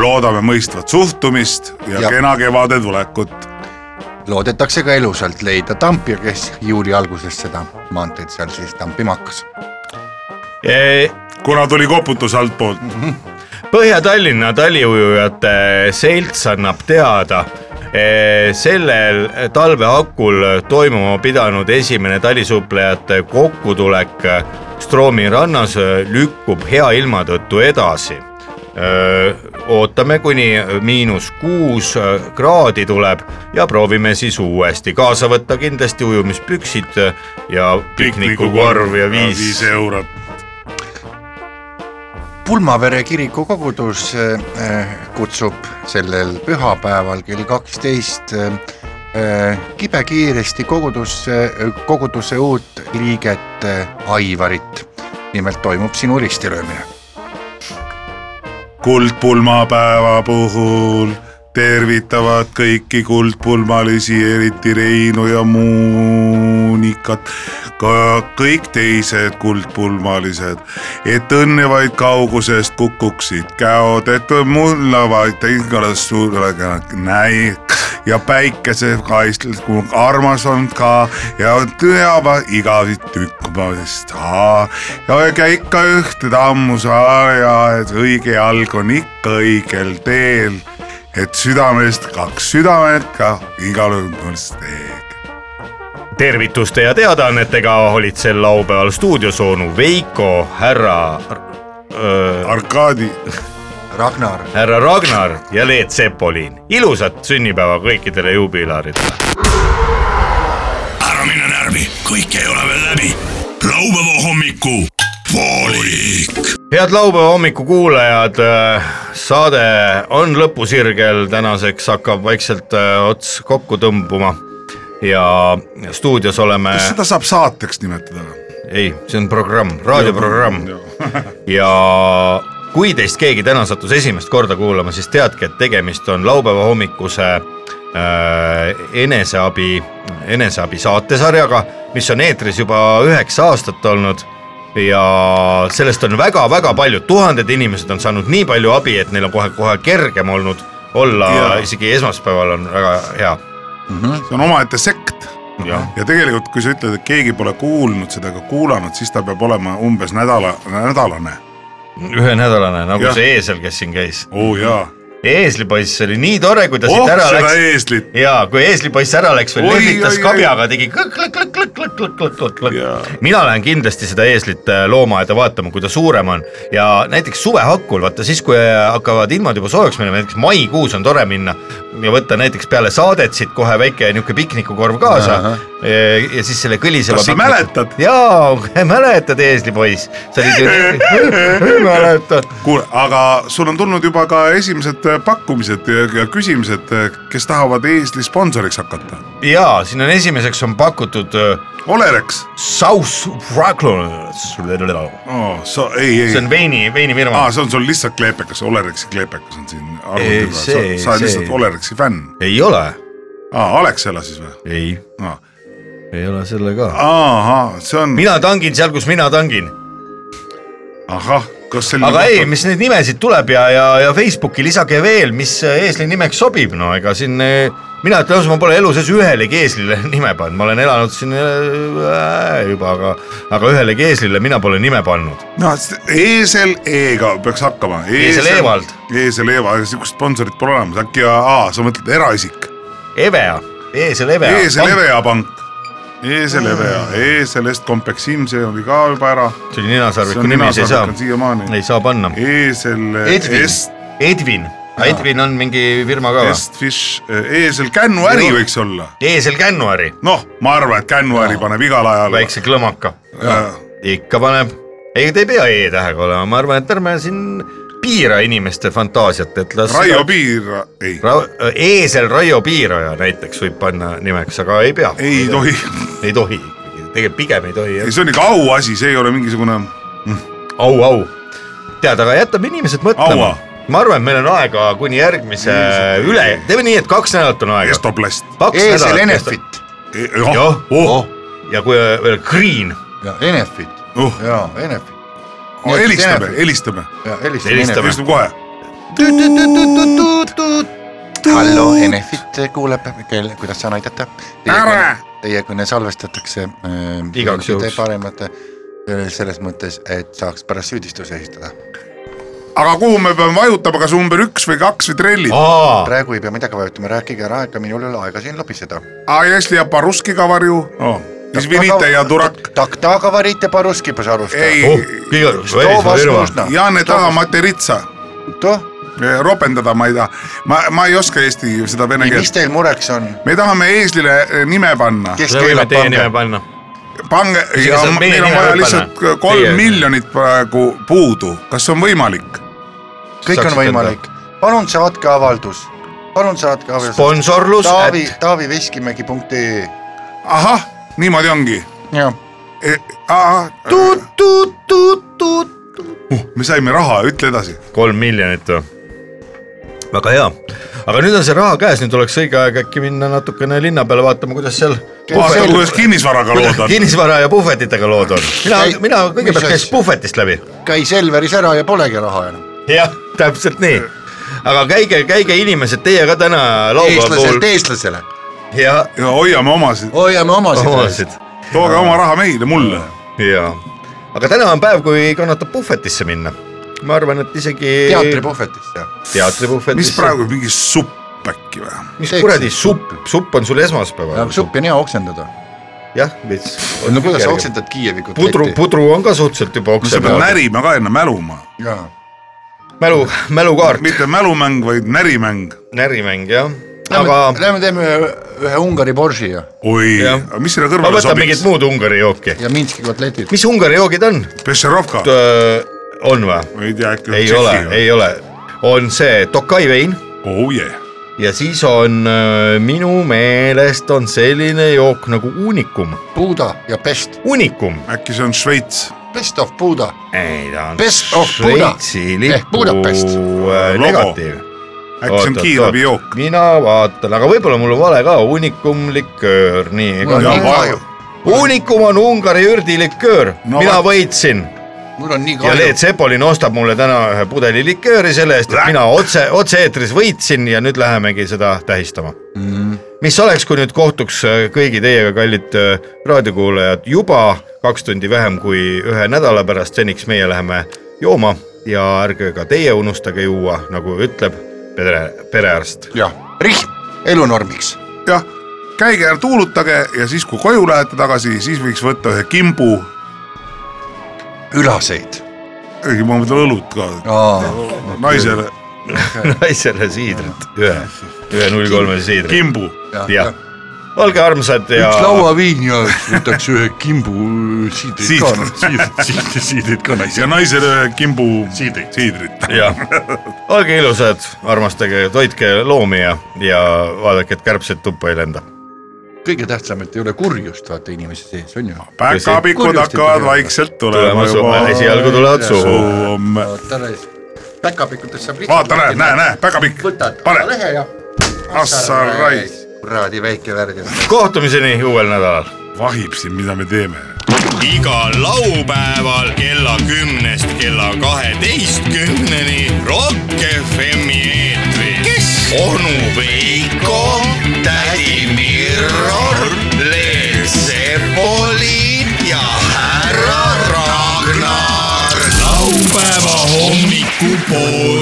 C: loodame mõistvat suhtumist ja, ja.
E: Ja-
C: kena kevade tulekut .
E: loodetakse ka elusalt leida tampija , kes juuli alguses seda maanteed seal siis tampima hakkas .
B: Äh,
C: kuna tuli koputus altpoolt mm ,
B: Põhja-Tallinna taliujujate selts annab teada , sellel talve hakul toimuma pidanud esimene talisuplejate kokkutulek Stroomi rannas lükkub hea ilma tõttu edasi . ootame , kuni miinus kuus kraadi tuleb ja proovime siis uuesti kaasa võtta kindlasti ujumispüksid ja piknikukorv ja viis
C: viis eurot .
E: pulmavere kiriku kogudus äh, äh, kutsub sellel pühapäeval kell kaksteist äh, eh, kibekiiresti kogudusse , koguduse uut liiget äh, Aivarit . nimelt toimub sinu ristiröömine .
C: kuldpulmapäeva puhul tervitavad kõiki kuldpulmalisi , eriti Reinu ja Moonikat , ka kõik teised kuldpulmalised , et õnne vaid kaugusest kukuksid käod , et mulla vaid teiskõlas suurega näi- ja päikesekaistel , kui armas on ka ja teavad igavit tükkmast ja käika ühte tammu saare ja et õige jalg on ikka õigel teel . et südamest kaks südamet ka igalühel on teed .
B: tervituste ja teadaannetega olid sel laupäeval stuudios onu Veiko , härra ,
C: Arkadi ,
E: Ragnar ,
B: härra Ragnar ja Leet Sepolin . ilusat sünnipäeva kõikidele juubilaridele .
G: ära mine närvi , kõik ei ole veel läbi . laupäeva hommiku poolik .
B: head laupäeva hommiku kuulajad , saade on lõpusirgel , tänaseks hakkab vaikselt äh, ots kokku tõmbuma ja stuudios oleme ,
C: kas seda saab saateks nimetada või ?
B: ei , see on programm , raadioprogramm ja kui teist keegi täna sattus esimest korda kuulama , siis teadke , et tegemist on laupäeva hommikuse äh, eneseabi , eneseabi saatesarjaga , mis on eetris juba üheksa aastat olnud ja sellest on väga-väga paljud , tuhanded inimesed on saanud nii palju abi , et neil on kohe-kohe kergem olnud olla
C: Jaa. ,
B: isegi esmaspäeval on väga hea .
C: see on omaette sekt ja tegelikult , kui sa ütled , et keegi pole kuulnud seda ega kuulanud , siis ta peab olema umbes nädala , nädalane .
B: ühenädalane nagu ja.
C: Jah.
B: see eesel , kes siin käis .
C: oo oh, jaa .
B: eeslipoiss oli nii tore , kui ta
C: oh
B: siit ära
C: seda
B: läks
C: eeslit .
B: ja kui eeslipoiss ära läks veel ,
C: Oi,
B: lehvitas
C: oi, oi.
B: kabjaga , tegi klõkk-klõkk-klõkk-klõkk-klõkk-klõkk-klõkk-klõkk-klõkk .
C: Jaa.
B: mina lähen kindlasti seda eeslit äh, loomaaeda vaatama , kui ta suurem on ja näiteks suve hakul , vaata siis , kui äh, hakkavad ilmad juba soojaks minema , näiteks maikuus on tore minna ja võtta näiteks peale saadet siit kohe väike niisugune piknikukorv kaasa ja, ja siis selle kõliseva .
C: Kas sa mäletad? ?
B: jaa , (laughs) mäletad eeslipoiss , sa olid ju , (laughs) ei mäleta
C: kuule , aga sul on tulnud juba ka esimesed eh, pakkumised ja, ja küsimused , kes tahavad Eesli sponsoriks hakata .
B: jaa , siin on esimeseks on pakutud äh, öö,
C: Olerex
B: South Rocklands .
C: oh, , sa ei , ei
B: see , on veini , veinifirma
C: aa ,
B: ah, .
C: see on sul lihtsalt kleepekas , Olerexi kleepekas on siin
B: Ei,
C: arvuti
B: see-
C: peal , sa oled
B: see-
C: lihtsalt Olerexi fänn .
B: ei ole .
C: aa , Alexela siis või ?
B: ei , ei ole selle ka .
C: ahah , see on ,
B: mina tangin seal , kus mina tangin .
C: ahah , kas selline
B: aga ei , mis neid nimesid tuleb ja , ja , ja Facebooki lisage veel , mis eesli nimeks sobib , no ega siin eh, mina ütlen ausalt , ma pole elu sees ühelegi eeslile (laughs) nime pannud , ma olen elanud siin äh, juba , aga , aga ühelegi eeslile mina pole nime pannud .
C: no s- eesel E-ga peaks hakkama .
B: Eesel Evald. .
C: eesel Eva , aga sihukest sponsorit pole olemas , äkki aa , sa mõtled eraisik .
B: Evea , eesel Evea .
C: eesel . Evea pank . E eesel Evea , eesel Est-Compexim , see oli ka juba ära .
B: see oli ninasarviku nimi , see ei saa , ei
C: siiamaani .
B: saa panna .
C: eesel
E: Edwin.
C: eh, Est ,
B: Edvin , Edvin on mingi firma ka või ?
C: Est-Fish , eesel Kännuäri
B: Ei ole.
C: võiks olla .
B: eesel Kännuäri ,
C: noh , ma arvan , et Kännuäri paneb igal ajal . eh,
B: väikse klõmaka , ikka paneb . ei , ta ei pea E-tähega olema , ma arvan , et ärme siin piira inimeste fantaasiat , et las .
C: Raio Piir , ei ,
B: Ra- , eesel Raio Piiraja näiteks võib panna nimeks , aga ei pea .
C: ei tohi .
B: ei tohi , tegelikult pigem ei tohi
C: ei ,
B: jah ,
C: see on ikka auasi , see ei ole mingisugune
B: au , au . tead , aga jätame inimesed mõtlema
C: Aua. .
B: ma arvan , et meil on aega kuni järgmise
C: Eesel-
B: üle , teeme nii , et kaks nädalat on aega .
C: estoplast . Eh,
B: kaks
E: eesel
B: nädalat .
E: Enefit .
C: jah ,
B: jah , oh , ja kui veel Green ,
E: ja Enefit
C: Uh.
E: ja Enefit
C: helistame , helistame ,
E: ja
B: Helistame.
E: helistame .
C: helistame kohe .
E: hallo , Enefit kuuleb , kelle , kuidas saan aidata ?
C: Ära!
E: Teie kõne salvestatakse äh, .
B: Igaks juhuks.
E: paremate äh, selles mõttes , et saaks pärast süüdistuse esitada .
C: aga kuhu me peame vajutama , kas number üks või kaks või trellid ?
B: Oh. aa ,
E: praegu ei pea midagi vajutama , rääkige ära , ega minul ei ole aega siin lobiseda .
C: A если я по-русски говорю,
B: Oh.
C: о, извините, я дурак .
E: Так taga varite paruski pasarusta .
C: ei
B: oh ,, kõige välismaa firma .
C: ja не taha materitsa ,
E: toh ,
C: ropendada ma ei taha , ma , ma ei oska eesti seda vene
E: mis
C: keelt .
E: teil mureks on ?
C: me tahame eeslile eh, nime panna ,
E: kes
B: seda võime
E: keelab
B: teie nime
E: pange ?
B: panna .
C: pange
B: Isegi
C: ja
B: saab meie
C: meil on
B: nime
C: vaja
B: ka
C: lihtsalt
B: panna. Teie-
C: kolm miljonit praegu puudu , kas see on võimalik ?
E: kõik on
B: Saaks
E: võimalik , palun saatke avaldus , palun saatke avaldus .
B: sponsorlus ,
E: Taavi , taaviveskimägi.ee ,
C: ahah , niimoodi ongi . Eh,
E: jah .
C: me saime raha , ütle edasi .
B: kolm miljonit või ? väga hea , aga nüüd on see raha käes , nüüd oleks õige aeg äkki minna natukene linna peale vaatama , kuidas seal
C: vaata , kuidas kinnisvaraga lood on .
B: kinnisvara ja puhvetitega lood on . mina
E: Ei, ,
B: mina
E: mis
B: kõigepealt käiks
E: asja?
B: puhvetist läbi .
E: käis Elveris ära ja polegi raha enam .
B: jah , täpselt nii . aga käige , käige inimesed , teie ka täna laupäeva
E: eestlaselt
B: puhul
E: eestlasele ,
B: ja
C: ja hoiame omasid ,
E: hoiame omasid .
B: omasid
C: tooge oma raha meile , mulle .
B: ja , aga täna on päev , kui kannatab puhvetisse minna . ma arvan , et isegi
E: teatripuhvetist ja .
C: mis
B: teatripuhvetisse .
C: praegu , mingi supp äkki või ?
B: mis kuradi supp , supp on sul esmaspäeval .
E: suppi on hea oksendada .
B: jah , veits .
E: no kuidas sa oksendad Kiievi kotletti ?
B: pudru , pudru on ka suhteliselt juba
C: no sa
B: oksa
C: pead
B: peal .
C: närima ka enne mäluma ,
E: jaa ,
B: mälu , mälukaart ,
C: mitte mälumäng , vaid närimäng .
B: närimäng jah ,
E: aga
B: aga .
E: Lähme teeme ühe , ühe Ungari Borži ja ,
C: oi
B: Jah. ,
C: mis selle
B: ma
C: kõrvale
B: võtan mingit
C: sobiks ?
B: muud Ungari jooki .
E: ja Minski kotletid .
B: mis Ungari joogid on ?
C: Pešerovka ,
B: on või ?
C: ei tea äkki .
B: ei ole , ei ole , on see Tokai vein
C: oh yeah ,
B: ja siis on öö, minu meelest on selline jook nagu Unicum ,
E: Buda ja Pest ,
B: Unicum .
C: äkki see on Šveits .
E: Best of Buda ,
B: ei , ta on
E: Best of Buda
B: Šveitsi
E: ehk Budapest.
B: lipu äh,
C: Logo.
B: negatiiv .
C: äkki see on kiirabijook .
B: mina vaatan , aga võib-olla mul on vale ka , Unicum liköör , nii .
E: Mul on
C: Ja
E: nii
C: va-
E: kahju ,
B: Unicum on Ungari ürdiliköör
C: No
B: no, , mina
C: vot.
B: võitsin
E: mul on nii
B: ja
E: kahju
B: Leet . Sepolin ostab mulle täna ühe pudeli likööri selle eest , et mina otse , otse-eetris võitsin ja nüüd lähemegi seda tähistama mm. . mis oleks , kui nüüd kohtuks äh, kõigi teiega , kallid äh, raadiokuulajad , juba kaks tundi vähem kui ühe nädala pärast , seniks meie läheme jooma ja ärge ka teie unustage juua , nagu ütleb pere , perearst . (laughs)
E: jah , rihm elunormiks .
C: jah , käige ja tuulutage ja siis , kui koju lähete tagasi , siis võiks võtta ühe kimbu ,
E: ülaseid .
C: ei ma mõtlen õlut ka , naisele
B: naisele siidrit , ühe , ühe null kolme siidrit , (laughs)
C: kimbu .
B: jah . olge armsad ja
E: üks lauaviin ja võtaks ühe kimbu siidrit ka
C: siidrit , siidrit , siidrit , siidrit ka naisele . ja naisele ühe kimbu siidrit, siidrit. .
B: jah , olge ilusad , armastage , toitke loomi ja , ja vaadake , et kärbsed tuppa ei lenda .
E: kõige tähtsam , et ei ole kurjust vaata inimese sees , on ju .
C: päkapikud
E: Kurjust ei
C: hakkavad
E: tule.
C: vaikselt tulema
B: tulema suhu
C: juba ,.
B: esialgu tulevad suhu .
C: Soome .
E: vaata ära , päkapikutest saab
C: vaata , näe , näe , näe , päkapikk ,
E: võtad
C: pane ,
E: lehe ja .
C: Assa raisk ,
E: kuradi väike värgis .
B: kohtumiseni uuel nädalal .
C: vahib siin , mida me teeme
G: igal laupäeval kella kümnest kella kaheteistkümneni Rock FM-i eetris . kes ? onu Veiko , tädi Mirror , Leet Sepoli ja härra Ragnar . laupäeva hommikupool .